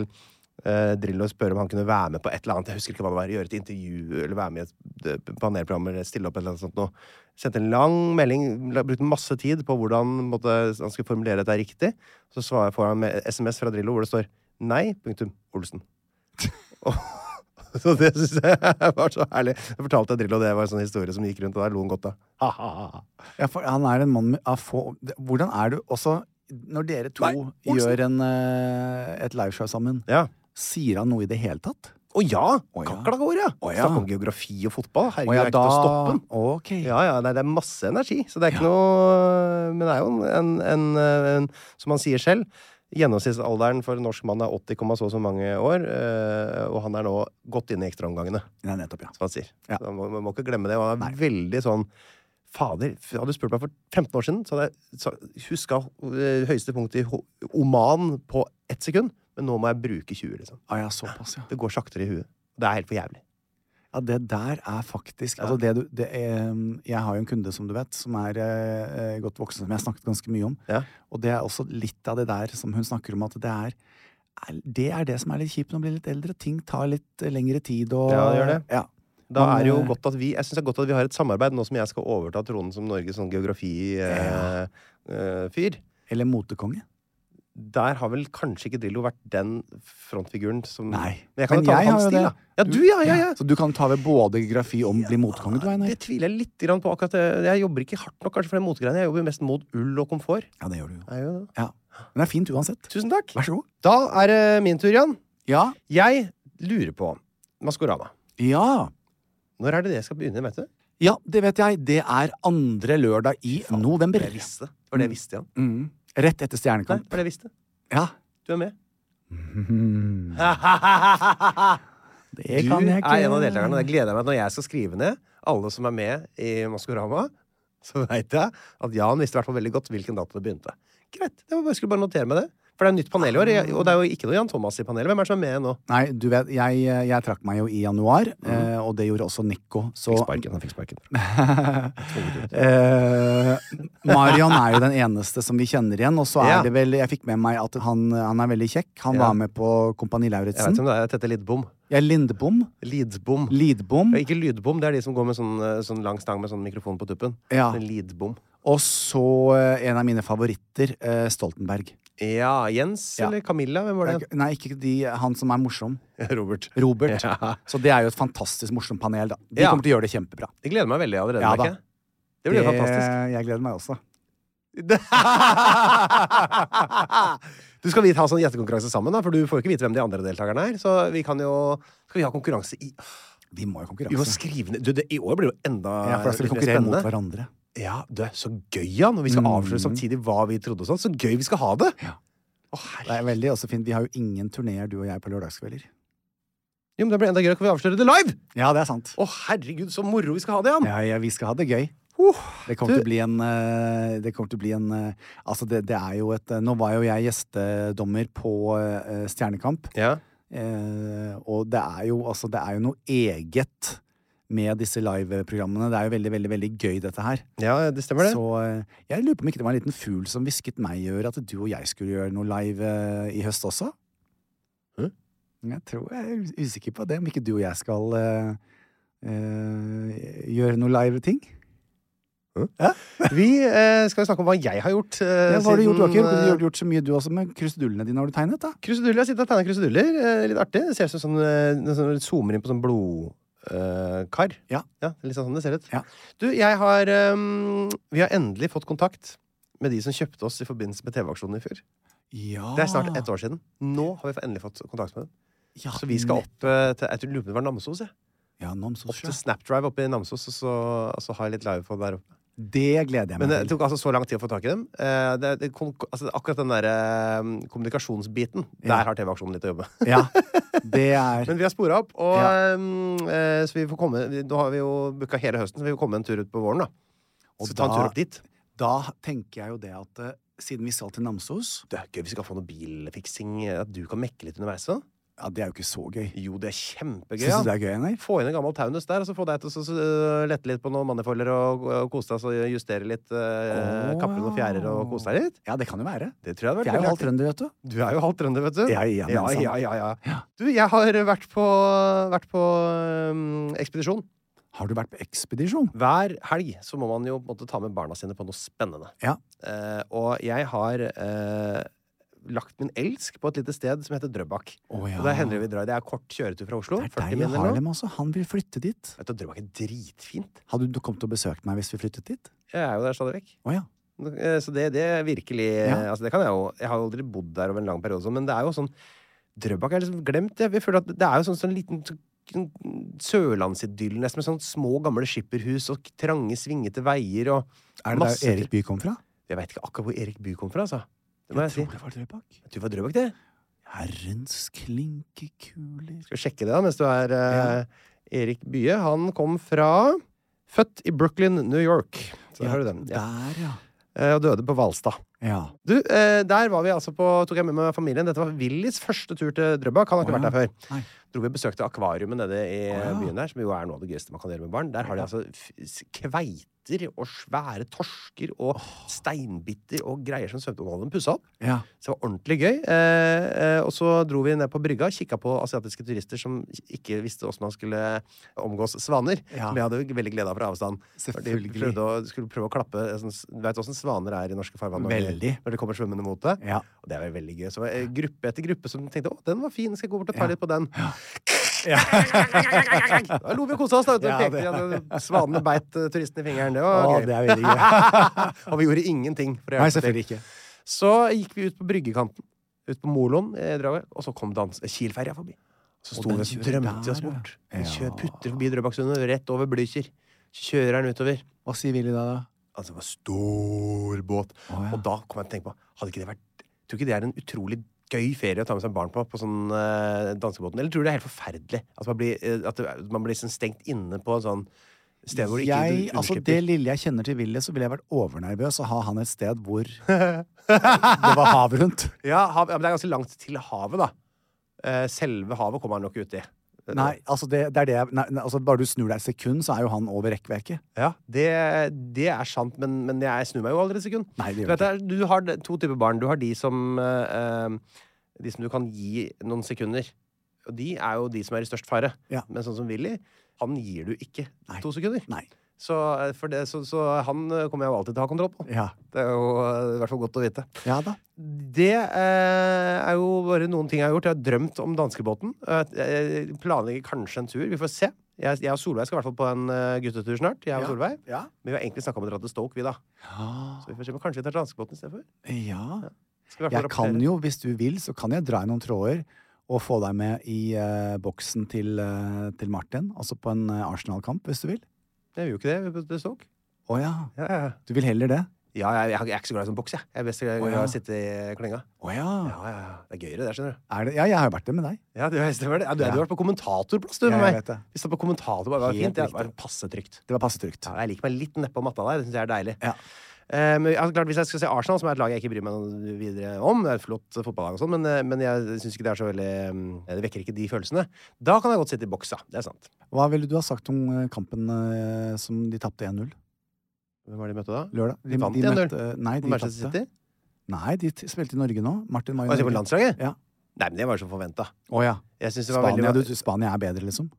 B: eh, Drillo og spørre om han kunne være med på et eller annet. Jeg husker ikke hva det var. Gjøre et intervju eller være med i et eh, panelprogram eller stille opp et eller annet sånt noe. Sendte en lang melding, la- brukte masse tid på hvordan måtte, han skulle formulere dette riktig. Så svarer- får han med SMS fra Drillo hvor det står nei, punktum, Olsen. [laughs] Så det syns jeg [laughs] var så herlig. Jeg fortalte jeg Drillo det var en sånn historie som gikk rundt, og da lo han godt, da. Ha, ha, ha.
C: ja, for Han er en mann med av få det- Hvordan er du også Når dere to
B: Nei, Olsen.
C: gjør en, eh, et liveshow sammen,
B: Ja.
C: sier han noe i det hele tatt?
B: Å ja!
C: Å ja.
B: Kakla går, ja!
C: Å ja.
B: Snakke om geografi og fotball.
C: Å
B: Herregud,
C: ja,
B: jeg er ikke til å stoppe den.
C: Ok.
B: Ja, ja, nei, det er masse energi, så det er ikke noe Men det er jo en, en, en, en Som han sier selv, gjennomsnittsalderen for en norsk mann er 80, komma så og så mange år, eh, og han er nå godt inne i ekstraomgangene,
C: Nei, nettopp, ja.
B: som han sier.
C: Ja.
B: Så man, må- man må ikke glemme det. Og han er veldig sånn Fader, f- hadde du spurt meg for 15 år siden, så hadde jeg sa- huska eh, høyeste punkt i ho- Oman på ett sekund, men nå må jeg bruke 20, liksom.
C: Ah, ja, såpass, ja.
B: Det går saktere i huet. Det er helt for jævlig.
C: Ja, det der er faktisk altså det du, det er, Jeg har jo en kunde, som du vet, som er eh, godt voksen, som jeg har snakket ganske mye om.
B: Ja.
C: Og det er også litt av det der som hun snakker om, at det er er- det er det som er litt kjipt når man blir litt eldre. Ting tar litt eh, lengre tid og
B: Ja, det gjør det.
C: Ja.
B: Da
C: Men,
B: er det jo
C: eh,
B: godt at vi, jeg synes det er godt at vi har et samarbeid nå som jeg skal overta tronen som Norges sånn geografifyr. Eh, fyr.
C: Eller motekonge.
B: Der har vel kanskje ikke Drillo vært den frontfiguren som
C: Nei.
B: Men jeg kan jo ta med hans stil, da. Ja, du, ja, ja, ja.
C: Så du kan ta ved både geografi og bli motekonge, du, Einar?
B: Det tviler jeg litt grann på. akkurat det. Jeg jobber ikke hardt nok kanskje for den motegreiene. Jeg jobber mest mot ull og komfort.
C: Ja, det gjør du jo.
B: Er jo det.
C: Ja. Men det er fint uansett.
B: Tusen takk.
C: Vær så god.
B: Da er det min tur, Jan.
C: Ja.
B: Jeg lurer på Maskorama.
C: Ja.
B: Når er det det skal begynne? vet du?
C: Ja, det vet jeg. Det er andre lørdag i november.
B: Jeg visste. Det var det jeg visste, Jan.
C: Mm. Rett etter
B: Nei,
C: Stjernekamp.
B: det var det jeg visste.
C: Ja.
B: Du er [laughs] med.
C: Det
B: Du
C: kan jeg ikke.
B: er en av deltakerne. og Jeg gleder meg at når jeg skal skrive ned alle som er med i Maskorama, så veit jeg at Jan visste i hvert fall veldig godt hvilken dato det begynte. Greit. Jeg bare, skulle bare notere meg det. For det er nytt panel i år, jeg- og det er jo ikke noe Jan Thomas i panelet. Hvem er det som er med nå?
C: Nei, du vet, jeg, jeg trakk meg jo i januar,
B: Mm.
C: eh, og det gjorde også Nico. Så
B: Han fikk sparken.
C: eh, Marion er jo den eneste som vi kjenner igjen. Og så er
B: Ja.
C: det vel Jeg fikk med meg at han, han er veldig kjekk. Han
B: Ja.
C: var med på Kompani
B: Jeg veit
C: Lauritzen.
B: om det er Tette Lidbom.
C: Jeg er Lindbom.
B: Lidbom.
C: Lidbom.
B: Ja, ikke lydbom, det er de som går med sånn, eh, sånn lang stang med sånn mikrofon på tuppen.
C: Ja.
B: En lidbom.
C: Og så eh, en av mine favoritter, eh, Stoltenberg.
B: Ja, Jens
C: Ja.
B: eller Camilla, hvem var det?
C: Nei, ikke de, han som er morsom.
B: Robert.
C: Robert.
B: Ja.
C: Så det er jo et fantastisk morsomt panel, da. De
B: Ja.
C: kommer til å gjøre det kjempebra.
B: Jeg gleder meg veldig allerede,
C: Ja da.
B: merker jeg. Det blir jo fantastisk.
C: Jeg gleder meg også.
B: [laughs] du skal vi ta sånn gjettekonkurranse sammen, da? For du får jo ikke vite hvem de andre deltakerne er. Så vi kan jo Skal vi ha konkurranse i
C: Vi må jo
B: Vi må
C: konkurranse.
B: skrive ned du, det, I år blir det jo enda
C: Ja, for da skal vi
B: litt mer
C: konkurrere mot
B: spennende.
C: hverandre.
B: Ja, det er så gøy, ja! Når vi skal avsløre samtidig hva vi trodde og sånn. Så gøy vi skal ha det!
C: Det er veldig også fint. Vi har jo ingen turneer, du og jeg, på lørdagskvelder.
B: Jo, men Det blir enda gøyere. Kan vi avsløre det live?
C: Ja, det er sant.
B: Å, herregud, så moro vi skal ha det, Jan!
C: Ja, ja, vi skal ha det gøy.
B: Huh.
C: Det kommer
B: Du-
C: til å bli en eh, Det kommer til å bli en eh, Altså, det, det er jo et eh, Nå var jo jeg gjestedommer på eh, Stjernekamp,
B: Ja.
C: eh, og det er jo altså Det er jo noe eget med disse liveprogrammene. Det er jo veldig, veldig, veldig gøy, dette her.
B: ja, det stemmer, det.
C: Så eh, jeg lurer på om ikke det var en liten fugl som hvisket meg i øret at du og jeg skulle gjøre noe live eh, i høst også?
B: Hæ?
C: Jeg tror jeg er us- usikker på det, om ikke du og jeg skal eh, eh, gjøre noe live ting.
B: Vi eh, skal jo snakke om hva jeg har gjort. Eh,
C: Ja, hva har du gjort, Joakim? Du
B: eh,
C: har gjort- gjort så mye du også med krusedullene dine har du tegnet, da.
B: Kruseduller. Jeg sitter og tegner kruseduller. Eh, litt artig. Det ser ut som sånn, eh, noe sånn zoomer inn på sånn blodkar.
C: Ja.
B: litt sånn det ser ut.
C: Ja.
B: Du, jeg har ehm, Vi har endelig fått kontakt med de som kjøpte oss i forbindelse med TV-aksjonen i fjor.
C: Ja.
B: Det er snart ett år siden. Nå har vi endelig fått kontakt med dem.
C: Ja,
B: Så vi skal opp eh, til jeg tror lurer på om det var Namsos. Jeg.
C: Ja,
B: Opp
C: Namsos. ja.
B: til Snapdrive oppe i Namsos, og så, og så ha litt live på der oppe.
C: Det gleder jeg
B: Men det
C: meg til.
B: tok altså så lang tid å få tak i dem. Eh, det, det, kon- altså, akkurat den der eh, kommunikasjonsbiten,
C: Ja.
B: der har TV-aksjonen litt å jobbe med. [laughs]
C: Ja, det er
B: Men vi har spora opp, og,
C: Ja.
B: ehm, eh, så vi får komme vi- Nå har vi jo booka hele høsten, så vi får komme en tur ut på våren, da.
C: Og
B: så ta en
C: da-
B: tur opp dit.
C: Da tenker jeg jo det at eh, siden vi skal til Namsos
B: Det er gøy hvis vi kan få noe bilfiksing, eh, at du kan mekke litt underveis. Så.
C: Ja, det er jo ikke så gøy.
B: Jo, det er kjempegøy.
C: Syns
B: Ja.
C: du det er gøy, nei?
B: Få inn en gammel Taunus der, og så få deg til å så- så, øh, lette litt på noen manifolder og, og kose deg, så justere litt. Uh,
C: Åh.
B: Kappe noen fjærer og kose deg litt.
C: Ja, det kan jo være.
B: Det tror jeg hadde vært
C: For jeg er
B: veldig
C: jo halvt
B: artig.
C: trønder, vet du.
B: Du er jo halvt trønder, vet du.
C: Ja, ja, men
B: ja,
C: sant.
B: ja, ja, ja.
C: Ja.
B: Du, jeg har vært på, vært på øhm, ekspedisjon.
C: Har du vært på ekspedisjon?
B: Hver helg så må man jo på en måte ta med barna sine på noe spennende.
C: Ja.
B: Eh, og jeg har eh, lagt min elsk på et lite sted som heter Drøbak.
C: Å, ja.
B: Og der hender det vi drar. Det er kort kjøretur fra Oslo.
C: Det
B: 40
C: er deg og
B: minutter eller noe.
C: Harlem, altså. Han vil flytte dit.
B: Vet du, Drøbak er dritfint.
C: Hadde du kommet og besøkt meg hvis vi flyttet dit?
B: Jeg er jo der stadig vekk.
C: Å ja.
B: Eh, Så det, det er virkelig
C: Ja.
B: altså det kan jeg, jo, jeg har jo aldri bodd der over en lang periode, og sånn, men det er jo sånn Drøbak er liksom glemt. Jeg føler at Det er jo sånn, sånn liten sånn sørlandsidyll, nesten, med sånn små, gamle skipperhus og trange, svingete veier og
C: Er det
B: Masse
C: der Erik Bye kom fra?
B: Jeg veit ikke akkurat hvor Erik Bye kom fra, altså. Det må jeg,
C: tror det var Drøbak.
B: si. Du var Drøbak, det?
C: Herrens klinkekuler
B: Skal vi sjekke det da, mens du er eh, Erik Bye. Han kom fra Født i Brooklyn, New York. Så der har du den. Ja.
C: Der, ja.
B: Eh, Og døde på Hvalstad.
C: Ja.
B: Du, eh, der var vi altså på, tok jeg med meg familien. Dette var Willys første tur til Drøbak. Han har ikke
C: Å, ja.
B: vært der før.
C: Nei.
B: Dro vi og besøkte akvariumet nede i
C: Å, ja.
B: byen der, som jo er noe av det gøyeste man kan gjøre med barn. Der har de altså f s- kveiter og svære torsker og steinbiter og greier som svømte. Og nå hadde de pussa opp.
C: ja.
B: Så det var ordentlig gøy. Eh, eh, og så dro vi ned på brygga og kikka på asiatiske turister som ikke visste åssen man skulle omgås svaner.
C: Ja.
B: Som jeg hadde jo veldig glede av fra avstand. For De
C: Selvfølgelig.
B: prøvde å, skulle prøve å klappe eh, sånn, s- Du vet åssen svaner er i norske farvann? når de-
C: Veldig.
B: Når de kommer svømmende mot deg.
C: Ja.
B: Og det var veldig gøy. Så var det gruppe etter gruppe som tenkte å, den var fin, skal jeg gå bort og ta litt på den. [laughs] Da lo vi og kosa oss, da. vet du.
C: Ja,
B: Pekte,
C: det-
B: igjen, og Svanene beit eh, turisten i fingeren. Det var
C: Å,
B: gøy.
C: det er veldig gøy.
B: [laughs] og vi gjorde ingenting. For å
C: Nei,
B: hjelpe til.
C: selvfølgelig ikke.
B: Så gikk vi ut på bryggekanten, ut på Moloen, eh, Drøbak, og så kom dans eh, Kielferja forbi. Så
C: Og
B: sto vi
C: den
B: og så
C: kjører
B: drømte
C: der,
B: oss bort.
C: ja.
B: Den kjører,
C: Ja.
B: putter forbi Drøbaksundet, rett over Blücher. Så Kjører den utover.
C: Hva sier Willy da, da?
B: Altså, det var stor båt.
C: Å, ja.
B: Og da kom jeg til å tenke på Hadde ikke det vært Tror ikke det er en utrolig gøy ferie å ta med seg barn på på sånn eh, dansebåten? Eller tror du det er helt forferdelig at man blir, eh, at det- man blir sånn stengt inne på en sånn sted hvor det ikke
C: jeg,
B: du
C: altså,
B: underslipper?
C: det lille jeg kjenner til Willy, så ville jeg vært overnervøs å ha han et sted
B: [laughs]
C: hvor det var hav rundt.
B: Ja, hav, ja, men det er ganske langt til havet, da. Eh, Selve havet kommer han nok uti.
C: Nei, altså, det, det er det jeg nei, nei, altså, Bare du snur deg et sekund, så er jo han over rekkverket.
B: Ja, det, det er sant, men, men jeg snur meg jo aldri et sekund.
C: Nei, det
B: Du,
C: gjør
B: vet, det
C: ikke.
B: er- du har de- to typer barn. Du har de som eh, eh, De som du kan gi noen sekunder. Og de er jo de som er i størst fare.
C: Ja.
B: Men sånn som Willy, han gir du ikke
C: Nei.
B: to sekunder.
C: Nei.
B: Så, eh, for det, så, så han eh, kommer jeg jo alltid til å ha kontroll på.
C: Ja.
B: Det er jo eh, i hvert fall godt å vite.
C: ja da.
B: Det eh, er jo bare noen ting jeg har gjort. Jeg har drømt om danskebåten. Eh, Jeg planlegger kanskje en tur. Vi får se. Jeg, jeg og Solveig skal i hvert fall på en eh, guttetur snart. Jeg og
C: Ja.
B: Solveig.
C: Ja.
B: Men vi har egentlig snakka om å dra til Stoke, vi, da. Så vi får se, men Kanskje vi tar danskebåten istedenfor?
C: ja.
B: Skal vi i hvert fall
C: Jeg kan
B: rapportere.
C: jo, hvis du vil, så kan jeg dra i noen tråder og få deg med i eh, boksen til, eh, til Martin. Altså på en eh, Arsenal-kamp, hvis du vil.
B: Jeg gjør jo ikke det vi er på- til Stoke.
C: Å ja.
B: Ja, ja, ja.
C: Du vil heller det?
B: Ja, jeg, jeg, er ikke så glad i sånn boks, jeg. Jeg er best glad i
C: Å, ja.
B: å sitte i klenga.
C: Å ja.
B: Ja, ja, ja. Det er gøyere, det, skjønner du.
C: Er det, ja, jeg har jo vært det med deg.
B: Ja, du, stemmer det. Ja, du, du har vært på kommentatorplass, du,
C: Ja,
B: med
C: jeg
B: meg.
C: vet det.
B: Vi står på kommentator, det var
C: Helt
B: fint. Det
C: riktig.
B: var passe trygt.
C: Det var passe trygt.
B: Ja, jeg liker meg litt nedpå matta der. Det syns jeg er deilig.
C: Ja.
B: Eh, men altså, klart, Hvis jeg skal se Arsenal, som er et lag jeg ikke bryr meg noe videre om Det er et flott fotballag og sånn, men, eh, men jeg syns ikke det er så veldig eh, Det vekker ikke de følelsene. Da kan jeg godt sitte i boks, da. Det er sant.
C: Hva ville du ha sagt om eh, kampen eh, som de tapte 1-0
B: Hvem var det de møtte da?
C: lørdag?
B: De vant 1-0.
C: møtte- Nei, de
B: Manchester
C: tapte.
B: City?
C: Nei, de t- spilte i Norge nå. Martin var i
B: Og jeg ser på
C: Norge.
B: landslaget?
C: Ja.
B: Nei, men det var jo som forventa.
C: Å ja.
B: Jeg synes det var
C: Spania,
B: veldig...
C: du, Spania er bedre, liksom?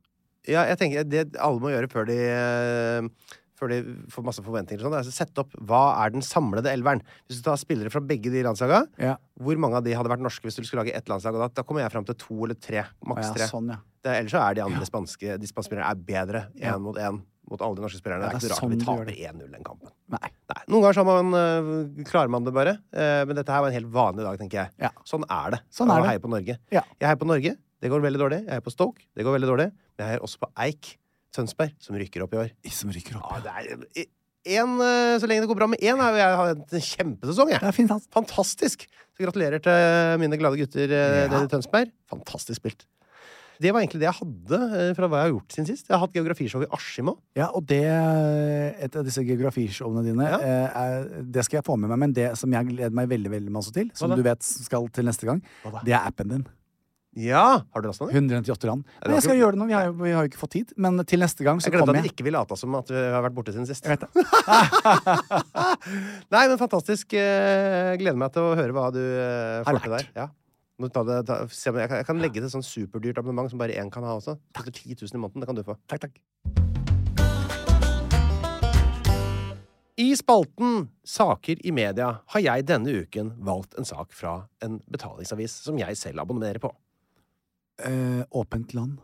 B: Ja, jeg tenker det alle må gjøre før de eh, før de får masse forventninger. og Sånn, det er å sette opp hva er den samlede elveren. Hvis du tar spillere fra begge de landslaga,
C: Ja.
B: hvor mange av de hadde vært norske hvis du skulle lage ett landslag? Og da, da kommer jeg fram til to eller tre.
C: Å
B: Maks
C: ja,
B: tre.
C: sånn, ja.
B: Det, ellers så er de andre spanske De spanske spillerne er bedre én
C: Ja.
B: mot én mot alle de norske spillerne.
C: Ja,
B: det er ikke rart
C: sånn du
B: vi
C: gjør
B: taper
C: det.
B: 1-0 den kampen.
C: Nei.
B: Nei, Noen ganger så har man, øh, klarer man det bare, eh, men dette her var en helt vanlig dag, tenker jeg.
C: Ja.
B: Sånn er det.
C: Sånn
B: å
C: er det.
B: heie på Norge.
C: Ja.
B: Jeg heier på Norge, det går veldig dårlig. Jeg heier på Stoke, det går veldig dårlig. Men jeg heier også på Eik Tønsberg, som rykker opp i år.
C: De som rykker opp.
B: Ja, det er, i- en, øh, så lenge det går bra med én, har jo jeg hatt en kjempesesong, jeg.
C: Det er fint, altså.
B: Fantastisk! Så gratulerer til mine glade gutter eh,
C: Ja.
B: nede i Tønsberg. Fantastisk spilt. Det var egentlig det jeg hadde eh, fra hva jeg har gjort siden sist. Jeg har hatt geografishow i Askim òg.
C: Ja, og det, et av disse geografishowene dine,
B: Ja.
C: eh, er, det skal jeg få med meg. Men det som jeg gleder meg veldig veldig masse til, som
B: da?
C: du vet skal til neste gang,
B: Hva da?
C: det er appen din.
B: Ja! Har du lasta den?
C: 198 land.
B: det
C: Men jeg
B: var
C: skal
B: ikke-
C: gjøre det nå, vi har, jo- vi har jo ikke fått tid. Men til neste gang så
B: Jeg glemte
C: kommer
B: at vi
C: jeg.
B: ikke vil late som at vi har vært borte siden sist. [laughs]
C: Jeg vet
B: Nei, men fantastisk. Eh, Gleder meg til å høre hva du eh,
C: Har
B: får til der.
C: lært.
B: Ja. Må du ta det, ta, se, om jeg, kan, jeg kan legge til et sånn superdyrt abonnement som bare én kan ha også. Koster 10 000 i måneden. Det kan du få.
C: Takk, takk.
B: I spalten Saker i media har jeg denne uken valgt en sak fra en betalingsavis som jeg selv abonnerer på.
C: Eh, åpent land.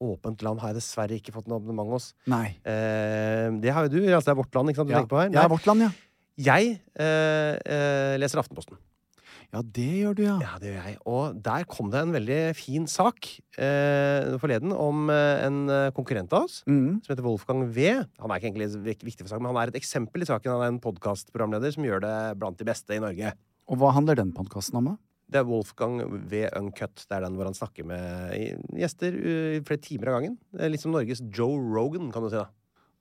B: Åpent land har jeg dessverre ikke fått noe abonnement hos.
C: Nei.
B: Eh, det har jo du. Altså det er vårt land ikke sant, du
C: Ja.
B: tenker på her.
C: ja,
B: Nei,
C: vårt land, ja.
B: jeg eh, eh, leser Aftenposten.
C: Ja, det gjør du, ja.
B: Ja, det gjør jeg. Og der kom det en veldig fin sak eh, forleden om eh, en eh, konkurrent av oss.
C: Mm.
B: Som heter Wolfgang V. Han er ikke egentlig så vik- viktig for saken, men han er et eksempel i saken. Han er en podkastprogramleder som gjør det blant de beste i Norge.
C: Og hva handler den podkasten om, da?
B: Det er Wolfgang V. Uncut. Det er den hvor han snakker med i- gjester uh, i flere timer av gangen. Det er Litt som Norges Joe Rogan, kan du si. da.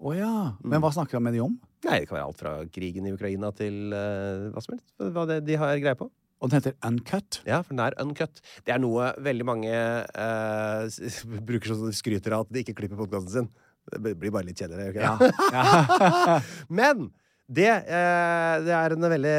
C: Å ja. Mm. Men hva snakker han med de om?
B: Nei, Det kan være alt fra krigen i Ukraina til eh, hva som helst. Hva det, de har greie på.
C: Og den heter Uncut.
B: Ja, for den er uncut. Det er noe veldig mange eh, s- bruker som skryter av at de ikke klipper podkasten sin. Det b- blir bare litt kjedeligere. gjør
C: [laughs]
B: ikke det? [laughs] Men det, eh, det er en veldig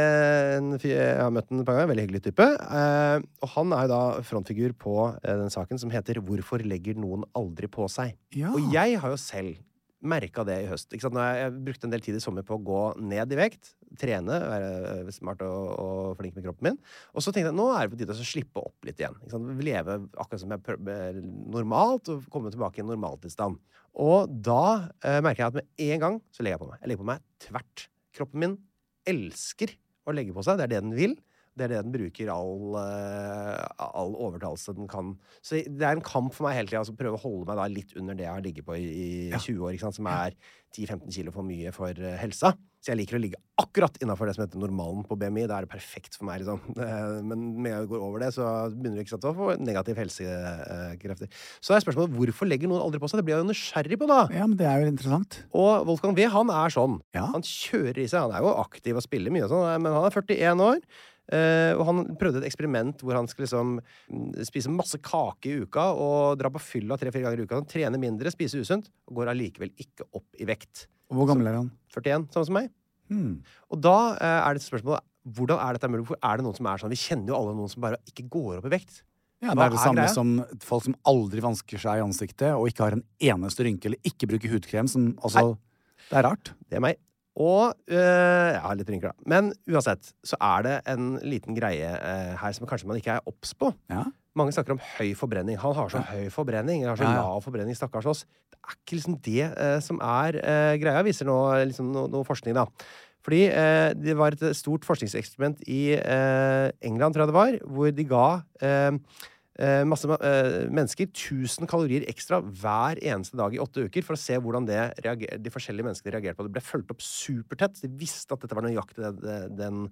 B: en, fyr- Jeg har møtt den et par ganger. en Veldig hyggelig type. Eh, og han er jo da frontfigur på eh, den saken som heter 'Hvorfor legger noen aldri på seg'.
C: Ja.
B: Og jeg har jo selv merka det i høst. Ikke sant? Når jeg, jeg brukte en del tid i sommer på å gå ned i vekt, trene, være eh, smart og, og flink med kroppen min. Og så tenkte jeg nå er det på tide å slippe opp litt igjen. Ikke sant? Leve akkurat som jeg prøver, normalt, og komme tilbake i en normaltilstand. Og da eh, merker jeg at med en gang så legger jeg på meg. Jeg legger på meg tvert. Kroppen min elsker å legge på seg. Det er det den vil. Det er det den bruker all, eh, all overtalelse den kan. Så det er en kamp for meg hele tida å prøve å holde meg da litt under det jeg har ligget på i, i 20 år, ikke sant? som er 10-15 kilo for mye for eh, helsa. Så jeg liker å ligge akkurat innafor det som heter normalen på BMI. Da er det perfekt for meg. liksom. [laughs] Eh, Men med en gang jeg går over det, så begynner du ikke sant, å få negative helsekrefter. Så er spørsmålet hvorfor legger noen aldri på seg? Det blir jeg jo nysgjerrig på, da.
C: ja, men det er jo interessant.
B: Og Wolfgang V, han er sånn.
C: Ja.
B: Han kjører i seg. Han er jo aktiv og spiller mye, og sånn, men han er 41 år. eh, og han prøvde et eksperiment hvor han skulle liksom mm, spise masse kake i uka og dra på fylla tre-fire ganger i uka. Han trener mindre, spiser usunt, og går allikevel ikke opp i vekt.
C: Og hvor gammel er han?
B: 41, samme som meg.
C: Hmm.
B: Og da eh, er det spørsmålet hvordan er dette mulig? Hvorfor er det noen som er sånn? Vi kjenner jo alle noen som bare ikke går opp i vekt.
C: Ja, det
B: Hva
C: er det
B: er
C: samme
B: greia?
C: som folk som aldri vansker seg i ansiktet, og ikke har en eneste rynke, eller ikke bruker hudkrem, som altså Det er rart.
B: Det er meg. Og øh, Jeg har litt rynker, da. Men uansett så er det en liten greie eh, her som kanskje man ikke er obs på.
C: Ja.
B: Mange snakker om høy forbrenning. Han har så høy forbrenning. Han har så
C: Ja, ja.
B: lav forbrenning, stakkars oss. Det er ikke liksom det eh, som er eh, greia, viser nå liksom, no, noe forskning, da. Fordi eh, det var et stort forskningseksperiment i eh, England, tror jeg det var, hvor de ga eh, eh, masse ma- eh, mennesker 1000 kalorier ekstra hver eneste dag i åtte uker for å se hvordan det reager, de forskjellige menneskene reagerte på det. Det ble fulgt opp supertett. så De visste at dette var nøyaktig det, det, den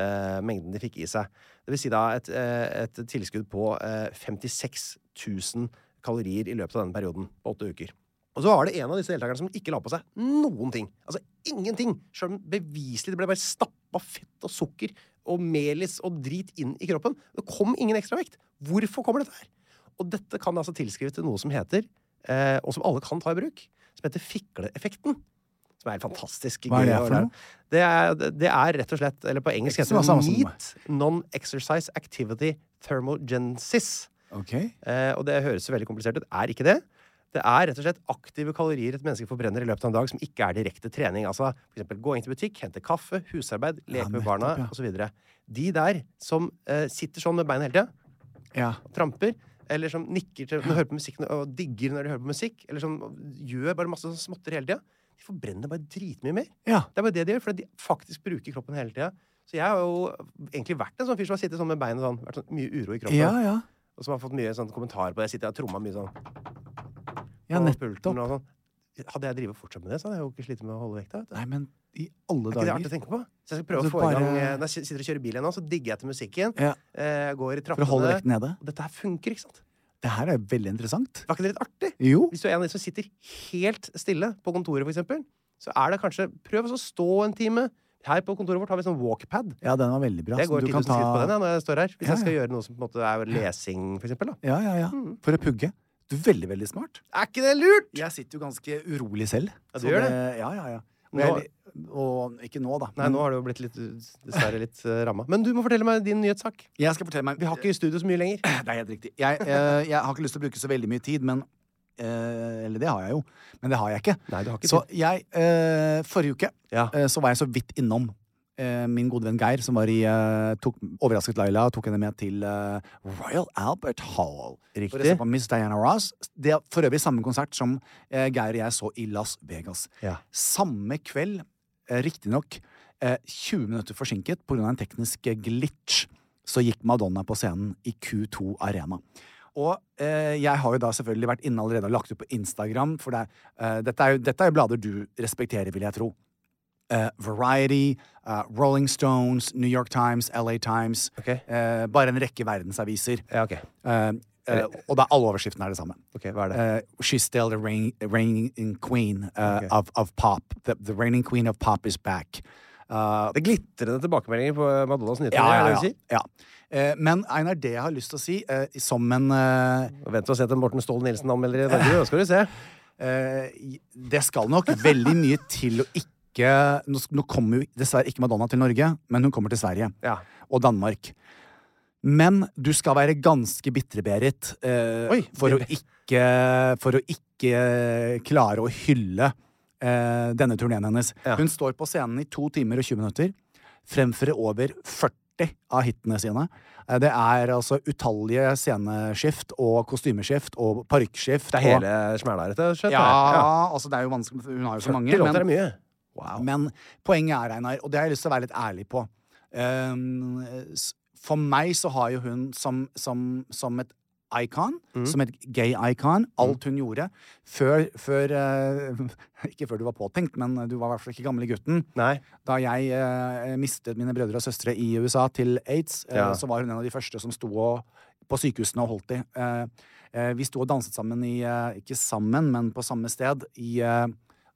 B: eh, mengden de fikk i seg. Det vil si da et, eh, et tilskudd på eh, 56 000 kalorier i løpet av denne perioden på åtte uker. Og så var det en av disse deltakerne som ikke la på seg noen ting. Altså ingenting! Selv om beviselig det ble bare stappa fett og sukker og melis og drit inn i kroppen. Det kom ingen ekstra vekt. Hvorfor kommer dette her? Og dette kan altså tilskrives til noe som heter, eh, og som alle kan ta i bruk, som heter fikleeffekten. Som er helt fantastisk
C: Hva er det
B: gøy å
C: for
B: høre.
C: noe?
B: Det er, det er rett og slett, eller på engelsk
C: Ikke så
B: heter
C: samme
B: det
C: som meg.
B: NEAT, Non-Exercise Activity Thermogenesis.
C: Ok.
B: Eh, og det høres så veldig komplisert ut. Er ikke det. Det er rett og slett aktive kalorier et menneske forbrenner i løpet av en dag som ikke er direkte trening. Altså for eksempel gå inn til butikk, hente kaffe, husarbeid, leke
C: Ja,
B: med
C: nettopp,
B: barna
C: ja.
B: og osv. De der som eh, sitter sånn med beina hele tida,
C: Ja.
B: tramper, eller som nikker til når de hører på musikk og digger når de hører på musikk, eller som gjør bare masse sånn småtter hele tida, de forbrenner bare dritmye mer.
C: ja.
B: Det er bare det de gjør, fordi de faktisk bruker kroppen hele tida. Så jeg har jo egentlig vært en sånn fyr som har sittet sånn med beina sånn, vært sånn mye uro i kroppen.
C: Ja, ja.
B: Og som har fått mye sånn kommentarer på det. Jeg sitter og tromma mye sånn
C: Ja,
B: på
C: nettopp.
B: pulten og sånn. Hadde jeg drevet fortsatt med det, så hadde jeg jo ikke slitt med å holde vekta. vet du.
C: Nei, men i
B: Er
C: alle
B: ikke det artig å
C: dager.
B: tenke på? Så jeg skal prøve
C: Altså,
B: å få i gang
C: bare-
B: eh, Når jeg sitter og kjører bil igjen nå, så digger jeg til musikken.
C: Ja.
B: Eh, går i
C: For å holde vekten
B: trappene.
C: nede.
B: Og dette her funker, ikke sant?
C: Det her er jo veldig interessant.
B: Var ikke det litt artig?
C: Jo.
B: Hvis du er en av de som sitter helt stille på kontoret, for eksempel, så er det kanskje Prøv å stå en time. Her på kontoret vårt har vi sånn walkpad.
C: Ja, den var veldig bra.
B: Jeg
C: så
B: går
C: du
B: 10
C: kan
B: 000 skritt på den
C: ta-
B: jeg, når jeg står her. Hvis
C: Ja,
B: jeg skal
C: ja.
B: gjøre noe som på en måte er lesing, for eksempel. Da.
C: Ja, ja, ja. For å pugge. Du er veldig, veldig smart.
B: Er ikke det lurt?
C: Mm. Jeg sitter jo ganske urolig selv.
B: Ja, du
C: så
B: gjør
C: Ja, ja, ja. Og,
B: Nå-
C: jeg, og ikke nå, da.
B: Nei, nå har det jo blitt litt, dessverre litt uh, ramma. Men du må fortelle meg din nyhetssak.
C: Jeg skal fortelle meg
B: Vi har ikke i studio så mye lenger.
C: Det er helt riktig. Jeg, eh, jeg har ikke lyst til å bruke så veldig mye tid, men eh, Eller det har jeg jo, men det har jeg ikke.
B: Nei, du har ikke
C: Så jeg eh, Forrige uke
B: Ja.
C: eh, så var jeg så vidt innom eh, min gode venn Geir, som var i eh, tok, Overrasket Laila, og tok henne med til eh, Royal Albert Hall. For å se
B: Riktig.
C: på Miss Diana Ross. Det er for øvrig samme konsert som eh, Geir og jeg så i Las Vegas.
B: Ja.
C: Samme kveld, eh, riktignok eh, 20 minutter forsinket pga. en teknisk eh, glitch, så gikk Madonna på scenen i Q2 Arena. Og eh, jeg har jo da selvfølgelig vært inne allerede og lagt ut på Instagram, for det, er, eh, dette, er jo, dette er jo blader du respekterer, vil jeg tro. Eh, Variety, eh, Rolling Stones, New York Times, LA Times.
B: Ok.
C: eh, bare en rekke verdensaviser.
B: Ja, ok.
C: Eh, eh, og da alle overskriftene er det samme.
B: Ok, hva er det?
C: Uh, she's still the reign, reigning queen uh, of, of pop. The, the reigning queen of pop is back. Uh,
B: Det er glitrende tilbakemeldinger på eh, Madonnas nyheter.
C: ja,
B: er
C: ja,
B: det
C: ja.
B: det du sier?
C: ja. Eh, men Einar, det jeg har lyst til å si, eh, som en eh,
B: Og Vent og se til Morten Ståhl Nilsen anmelder i Norge, da skal du se.
C: eh, i- Det skal nok veldig mye til å ikke Nå, sk- nå kommer jo dessverre ikke Madonna til Norge, men hun kommer til Sverige.
B: Ja.
C: og Danmark. Men du skal være ganske bitre, Berit, eh,
B: Oi,
C: for, å ikke, for å ikke eh, klare å hylle eh, denne turneen hennes.
B: Ja.
C: Hun står på scenen i to timer og 20 minutter, fremfører over 40 av hitene sine. Eh, Det er altså utallige sceneskift og kostymeskift og parykkskift.
B: Det er hele smæla rett og
C: og,
B: slett?
C: ja,
B: det.
C: altså det er jo vanskelig, hun har jo så
B: ja.
C: mange.
B: 40
C: men-
B: låter er mye. Wow.
C: men poenget er, Einar, og det har jeg lyst til å være litt ærlig på Ehm, s- For meg så har jo hun som, som, som et icon,
B: Mm.
C: som et gay icon, alt hun gjorde Før, før eh, [laughs] Ikke før du var påtenkt, men du var i hvert fall ikke gamle gutten.
B: Nei.
C: Da jeg eh, mistet mine brødre og søstre i USA til aids, eh,
B: Ja.
C: så var hun en av de første som sto og, på sykehusene og holdt i. Eh, eh, vi sto og danset sammen i eh, Ikke sammen, men på samme sted i eh,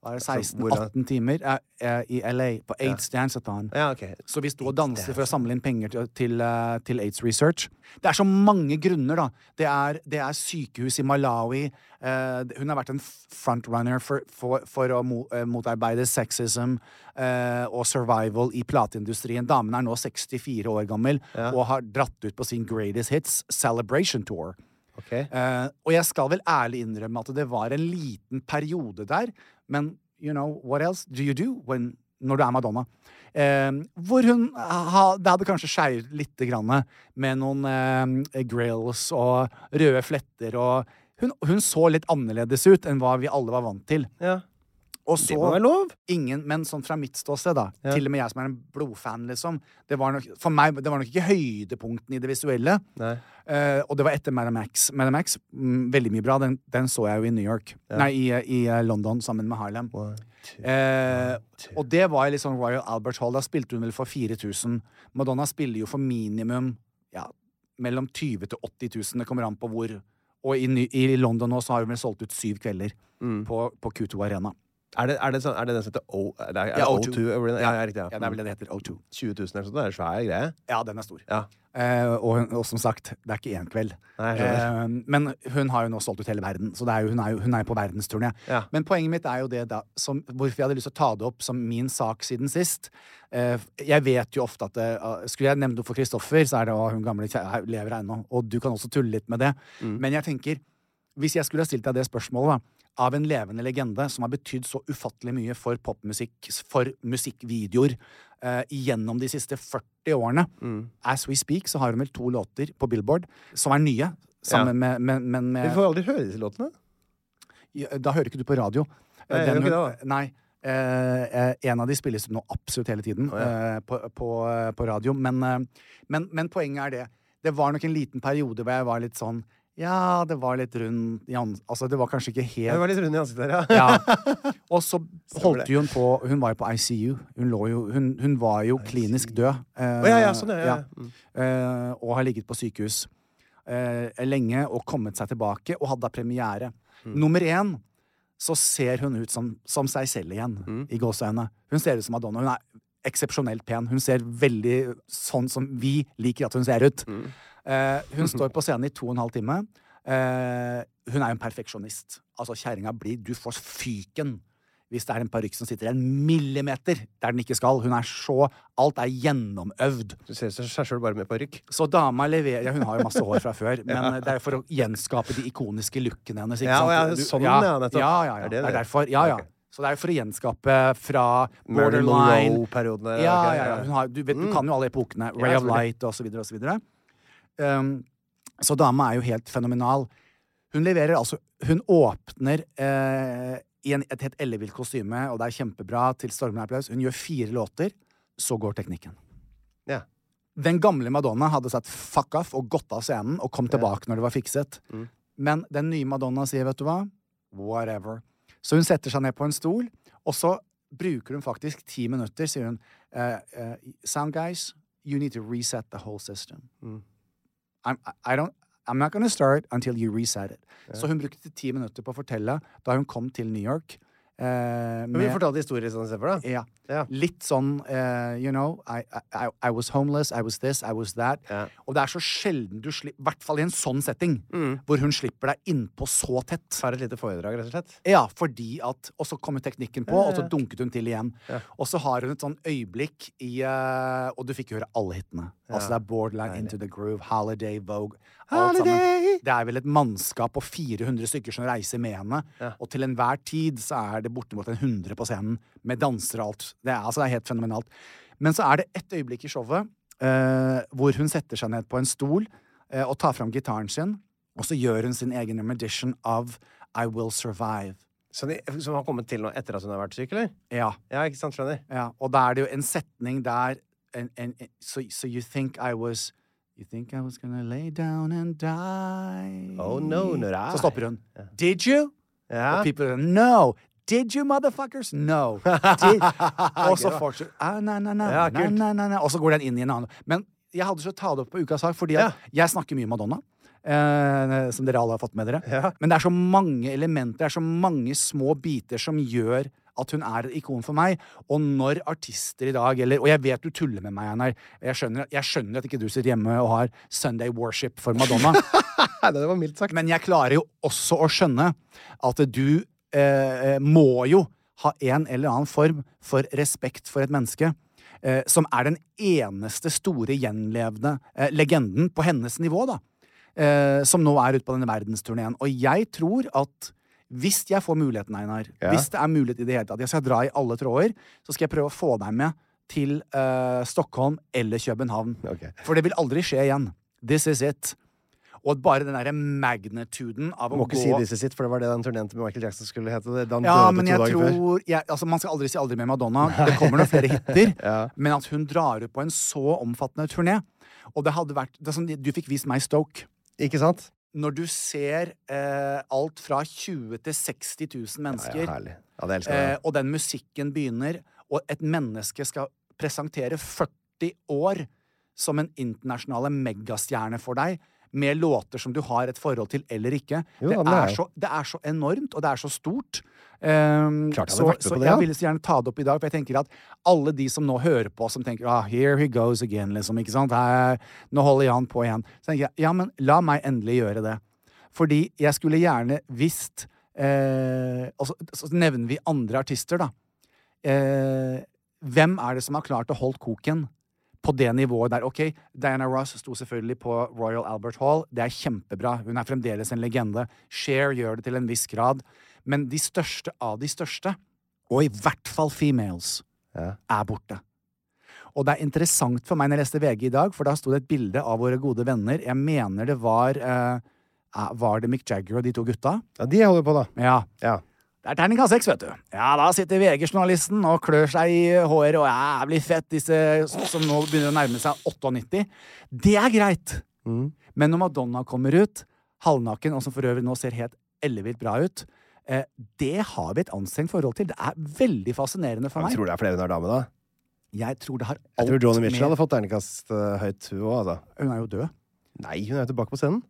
C: hva er det,
B: Altså, hvor da?
C: 16-18 timer eh, eh, i LA, på AIDS Danceathon.
B: Ja, ok.
C: Så vi sto og danset for å samle inn penger til, til, eh, til aids research. Det er så mange grunner, da. Det er, det er sykehus i Malawi. eh, hun har vært en frontrunner for, for, for å mo, eh, motarbeide sexism eh, og survival i plateindustrien. Damen er nå 64 år gammel og har dratt ut på sin greatest hits, Celebration Tour.
B: ok.
C: Eh, og jeg skal vel ærlig innrømme at det var en liten periode der, men you know, what else do you do when, når du er Madonna? Eh, hvor hun ha, Det hadde kanskje skeiet lite grann med noen eh, grills og røde fletter og hun, hun så litt annerledes ut enn hva vi alle var vant til.
B: Ja.
C: Og
B: Det må
C: så
B: være lov!
C: ingen, men sånn fra mitt ståsted, da.
B: Ja.
C: Til og med jeg som er en blodfan, liksom. Det var nok, for meg, det var nok ikke høydepunktene i det visuelle.
B: Nei.
C: Eh, og det var etter Madam Max. Madam Max, mm, veldig mye bra. Den, den så jeg jo i New York. Nei, i, eh, i eh, London sammen med Harlem. Eh, og det var litt sånn Royal Albert Hall. Da spilte hun vel for 4000. Madonna spiller jo for minimum ja, mellom 20 til 80 000. Det kommer an på hvor. Og i, Ny- i London nå så har hun vel solgt ut syv kvelder på, på Q2 Arena.
B: Er det, er det, sånn, er det den som heter O... Er det, er
C: Ja,
B: det
C: O2.
B: O2? over den? Ja, ja, riktig. Ja.
C: Ja, det er vel det det heter. O2.
B: 20 000 eller noe sånt. Det er en svær greie.
C: Ja, den er stor.
B: Ja.
C: Eh, og, hun- og som sagt, det er ikke én kveld.
B: Nei, jeg
C: eh, men hun har jo nå solgt ut hele verden, så det er jo, hun, er jo, hun er jo på verdensturné.
B: Ja.
C: Men poenget mitt er jo det da, som, hvorfor jeg hadde lyst til å ta det opp som min sak siden sist. Eh, jeg vet jo ofte at det, eh, Skulle jeg nevne det for Kristoffer, så er det å, hun gamle kjæ- lever ennå. Og du kan også tulle litt med det.
B: Mm.
C: Men jeg tenker, hvis jeg skulle ha stilt deg det spørsmålet, da, av en levende legende som har betydd så ufattelig mye for popmusikk, for musikkvideoer, eh, gjennom de siste 40 årene
B: Mm.
C: As we speak så har hun vel to låter på Billboard som er nye. Sammen med, med, men
B: Vi
C: med
B: får aldri høre disse låtene.
C: ja, Da hører ikke du på radio.
B: Nei, jeg
C: Den
B: gjør ikke
C: hun-
B: det,
C: Nei. Eh, eh, en av de spilles nå absolutt hele tiden eh, på, på, eh, på radio. Men, eh, men, men poenget er det. Det var nok en liten periode hvor jeg var litt sånn Ja, det var litt rund i ans- Altså, det var kanskje ikke helt
B: Jeg var litt rund i ansiktet her, ja.
C: ja. [laughs] Og så holdt
B: det.
C: jo hun på Hun var jo på ICU. Hun, lå jo, hun, hun var jo klinisk død. eh,
B: Å, ja, ja, sånn, ja, ja, ja.
C: Eh, og har ligget på sykehus eh, lenge og kommet seg tilbake, og hadde da premiere.
B: Mm.
C: Nummer én så ser hun ut som, som seg selv igjen,
B: Mm.
C: i gåseøynene. Hun ser ut som Madonna. Hun er eksepsjonelt pen. Hun ser veldig sånn som vi liker at hun ser ut.
B: Mm.
C: Eh,
B: [laughs]
C: hun står på scenen i to og en halv time. Eh, hun er jo en perfeksjonist. Altså, kjerringa blir Du får fyken hvis det er en parykk som sitter en millimeter der den ikke skal. Hun er så Alt er gjennomøvd.
B: Du ser seg sjøl bare med parykk.
C: Så dama leverer ja, Hun har jo masse hår fra
B: [laughs]
C: før, men eh, det er jo for å gjenskape de ikoniske lookene hennes. Ikke
B: Ja,
C: sant?
B: og ja,
C: Du-
B: sånn,
C: ja,
B: ja, nettopp.
C: Ja, ja, ja.
B: Er det
C: Det
B: det?
C: er derfor. Ja, ja.
B: Ok.
C: Så det er jo for å gjenskape fra
B: Marilyn
C: borderline
B: Monroe-perioden der,
C: Ja,
B: ok,
C: ja, ja.
B: ja.
C: Hun har, du, vet, du kan jo alle epokene. Ray
B: Ja,
C: of Light og så videre og så videre. Um, så dama er jo helt fenomenal. Hun leverer altså Hun åpner eh, i en, et helt ellevilt kostyme, og det er kjempebra, til stormende applaus. Hun gjør fire låter, så går teknikken.
B: Ja.
C: Den gamle Madonna hadde sagt fuck off og gått av scenen og kom tilbake når det var fikset. Men den nye Madonna sier, vet du hva, whatever. Så hun setter seg ned på en stol, og så bruker hun faktisk ti minutter, sier hun, eh, eh, sound guys, you need to reset the whole system. I'm, I- I don't, I'm not gonna start until you reset it. Så hun brukte ti minutter på å fortelle da hun kom til New York. eh,
B: Men vi
C: med-
B: fortalte historier sånn istedenfor, da.
C: ja.
B: Ja.
C: Litt sånn eh, You know, I, I, I was homeless, I was this, I was that.
B: Ja.
C: Og det er så sjelden du slipper I hvert fall i en sånn setting,
B: Mm.
C: hvor hun slipper deg innpå så tett.
B: Tar et lite foredrag, rett og slett.
C: Ja, fordi at Og så kom jo teknikken på, og så dunket hun til igjen. Og så har hun et sånn øyeblikk i eh, Og du fikk høre alle hitene. Altså det er Borderline, Into the Groove, Holiday, Vogue alt sammen.
B: Holiday!
C: Det er vel et mannskap på 400 stykker som reiser med henne. Og til enhver tid så er det bortimot en 100 på scenen med dansere og alt. Det er, altså, det er helt fenomenalt. Men så er det ett øyeblikk i showet eh, hvor hun setter seg ned på en stol eh, og tar fram gitaren sin, og så gjør hun sin egen remedition av I Will Survive.
B: Som, de, som har kommet til nå etter at hun har vært syk, eller?
C: Ja.
B: Ja, ikke sant, skjønner?
C: Ja, og da er det jo en setning der en, en, en, so, so you think I was You think I was gonna lay down and die
B: Oh, no, not I.
C: Så stopper hun. Did you?
B: Ja.
C: Og people are, No! Did you, motherfuckers? No.
B: [laughs]
C: Did. Og så fortsetter ah, na, na, na,
B: Ja,
C: na,
B: kult.
C: na, na, na. Og så går den inn i en annen Men jeg hadde lyst til å ta det opp på ukas sak, fordi at jeg snakker mye Madonna. eh, som dere alle har fått med dere. Men det er så mange elementer, det er så mange små biter som gjør at hun er et ikon for meg. Og når artister i dag eller, Og jeg vet du tuller med meg, Einar. Jeg skjønner, jeg skjønner at ikke du sitter hjemme og har Sunday worship for
B: [laughs]
C: Madonna.
B: Nei, det var mildt sagt.
C: Men jeg klarer jo også å skjønne at du eh, må jo ha en eller annen form for respekt for et menneske eh, som er den eneste store gjenlevende eh, legenden på hennes nivå, da. Eh, som nå er ute på denne verdensturneen. Og jeg tror at hvis jeg får muligheten, Einar, hvis det er mulighet i det hele tatt, jeg skal dra i alle tråder, så skal jeg prøve å få deg med til eh, Stockholm eller København.
B: Ok.
C: For det vil aldri skje igjen. This is it. Og at bare den derre magnituden av å
B: Må ikke
C: gå
B: si disse sitt, for det var det den turneen til Michael Jackson skulle hete. det- Da han
C: ja,
B: døde
C: men
B: to
C: jeg
B: dager før.
C: tror jeg, altså Man skal aldri si aldri med Madonna. Det kommer noen flere
B: [laughs]
C: hiter. Men at hun drar ut på en så omfattende turné Og det hadde vært det er sånn, Du fikk vist meg Stoke.
B: Ikke sant?
C: Når du ser eh, alt fra 20 til 60 000 mennesker,
B: Ja, herlig. Ja, det elsker
C: eh,
B: jeg.
C: og den musikken begynner, og et menneske skal presentere 40 år som en internasjonale megastjerne for deg, med låter som du har et forhold til eller ikke.
B: Jo,
C: det,
B: ja, men det
C: er
B: er jo-
C: så, det er så enormt, og det er så stort. Ehm,
B: Klart jeg hadde
C: så,
B: vært med
C: så
B: på det, ja.
C: jeg ville så gjerne ta det opp i dag, for jeg tenker at alle de som nå hører på, som tenker ah, 'here he goes again', liksom, ikke sant? Her, nå holder Jan på igjen. Så tenker jeg ja, men la meg endelig gjøre det. Fordi jeg skulle gjerne visst eh, og så, så nevner vi andre artister, da. Eh, hvem er det som har klart å holde koken? på det nivået der. Ok, Diana Ross sto selvfølgelig på Royal Albert Hall. Det er kjempebra. Hun er fremdeles en legende. Cher gjør det til en viss grad. Men de største av de største, og i hvert fall females, er borte. Og det er interessant for meg når jeg leste VG i dag, for da sto det et bilde av våre gode venner. Jeg mener det var eh, eh, Var det Mick Jagger og de to gutta?
B: Ja, de holder på, da.
C: Ja.
B: Ja.
C: Det er terning av seks, vet du. Ja, da sitter VG-journalisten og klør seg i håret, og ja, det blir fett, disse som nå begynner å nærme seg 98. Det er greit.
B: Mm.
C: Men når Madonna kommer ut, halvnaken, og som for øvrig nå ser helt ellevilt bra ut, eh, det har vi et anstrengt forhold til. Det er veldig fascinerende for
B: Jeg
C: meg.
B: tror det er flere hun er dame, da.
C: Jeg tror det har
B: Jeg
C: alt
B: tror Joni Mitchell
C: med
B: hadde fått terningkast eh, høyt, hun òg, altså.
C: Hun er jo død.
B: Nei, hun er jo tilbake på scenen.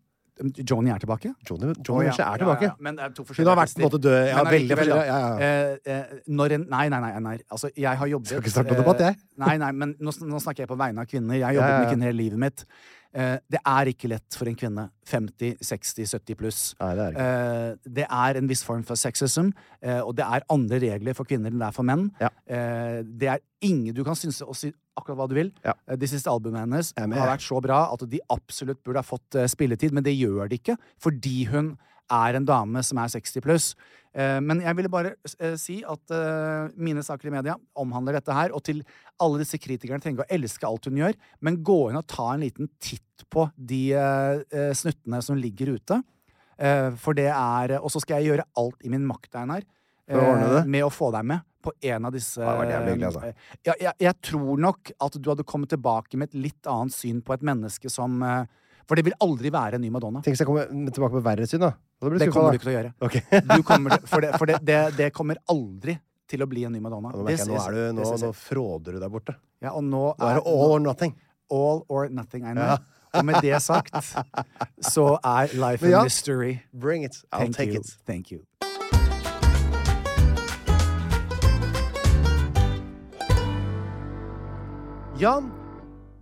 C: Johnny er tilbake.
B: Joni, Joni
C: Å, ja.
B: Mitchell er
C: Ja, ja,
B: tilbake.
C: ja. Men det er to
B: Hun har vært på en
C: forskjellige
B: måte død. Ja,
C: Men
B: veldig
C: allikevel,
B: forskjellig.
C: da.
B: Ja, ja,
C: Eh, eh, når en Nei, nei, nei. nei. Altså, jeg har jobbet eh,
B: Skal ikke starte noen debatt, jeg.
C: [laughs] Nei, nei, men nå, sn- nå snakker jeg på vegne av kvinner. Jeg har
B: Ja,
C: jobbet
B: ja, ja.
C: med kvinner hele livet mitt. Eh, det er ikke lett for en kvinne 50, 60, 70 pluss.
B: Nei, det er det ikke.
C: Eh, det er en viss form for sexism, eh, og det er andre regler for kvinner enn det er for menn.
B: Ja.
C: Eh, det er ingen Du kan synes og si akkurat hva du vil.
B: Ja.
C: Eh, de siste albumene hennes
B: Jeg er med,
C: har
B: jeg.
C: vært så bra at de absolutt burde ha fått eh, spilletid, men det gjør de ikke, fordi hun er en dame som er 60 pluss. Eh, men jeg ville bare eh, si at eh, mine saker i media omhandler dette her, og til alle disse kritikerne trenger ikke å elske alt hun gjør, men gå inn og ta en liten titt på de eh, eh, snuttene som ligger ute. Eh, for det er Og så skal jeg gjøre alt i min makt, Einar,
B: For å ordne
C: eh,
B: det?
C: med å få deg med på en av disse
B: Ja, det var jævlig hyggelig, altså.
C: eh, ja, jeg, jeg tror nok at du hadde kommet tilbake med et litt annet syn på et menneske som eh, For det vil aldri være en ny Madonna.
B: Tenk hvis jeg kommer tilbake med verre syn, da. Da blir
C: Det
B: du
C: kommer
B: skuffa,
C: du ikke til å gjøre.
B: da. Ok. [laughs]
C: Du kommer til, for det, for det, det, det kommer aldri til å bli en ny Madonna.
B: Nå, merker jeg,
C: This
B: nå,
C: is-
B: er du, nå,
C: this is
B: nå
C: it.
B: fråder du der borte.
C: Ja, og nå
B: Nå er det all or nothing.
C: all or nothing, Einar. Og med det
B: [laughs]
C: sagt så er life
B: Men ja.
C: a mystery.
B: Bring it. I'll
C: Thank
B: take
C: you.
B: it.
C: Thank you.
B: Jan,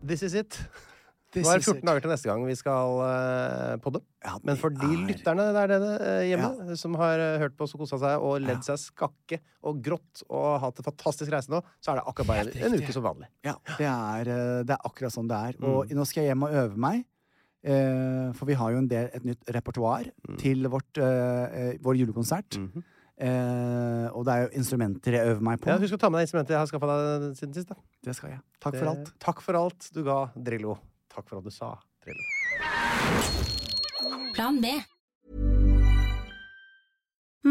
B: this is it.
C: This
B: Nå er det
C: is it.
B: 14 dager til neste gang vi skal eh, podde.
C: Ja,
B: Men for
C: det
B: de
C: er-
B: lytterne der nede eh, hjemme som har eh, hørt på oss og kosa seg og ledd seg skakke og grått og hatt en fantastisk reise nå, så er det akkurat bare en uke som vanlig.
C: Ja, det er, eh, det er akkurat sånn det er. Og nå skal jeg hjem og øve meg. eh, For vi har jo en del, et nytt repertoar til vårt, eh, eh, vår julekonsert. Eh, og det er jo instrumenter jeg øver meg på.
B: Ja, husk å ta med deg instrumentet jeg har skaffa deg siden sist. Da.
C: det skal jeg. Takk
B: Det-
C: for alt.
B: Takk for alt du ga Drillo. Takk for at du sa Drillo.
E: Plan B.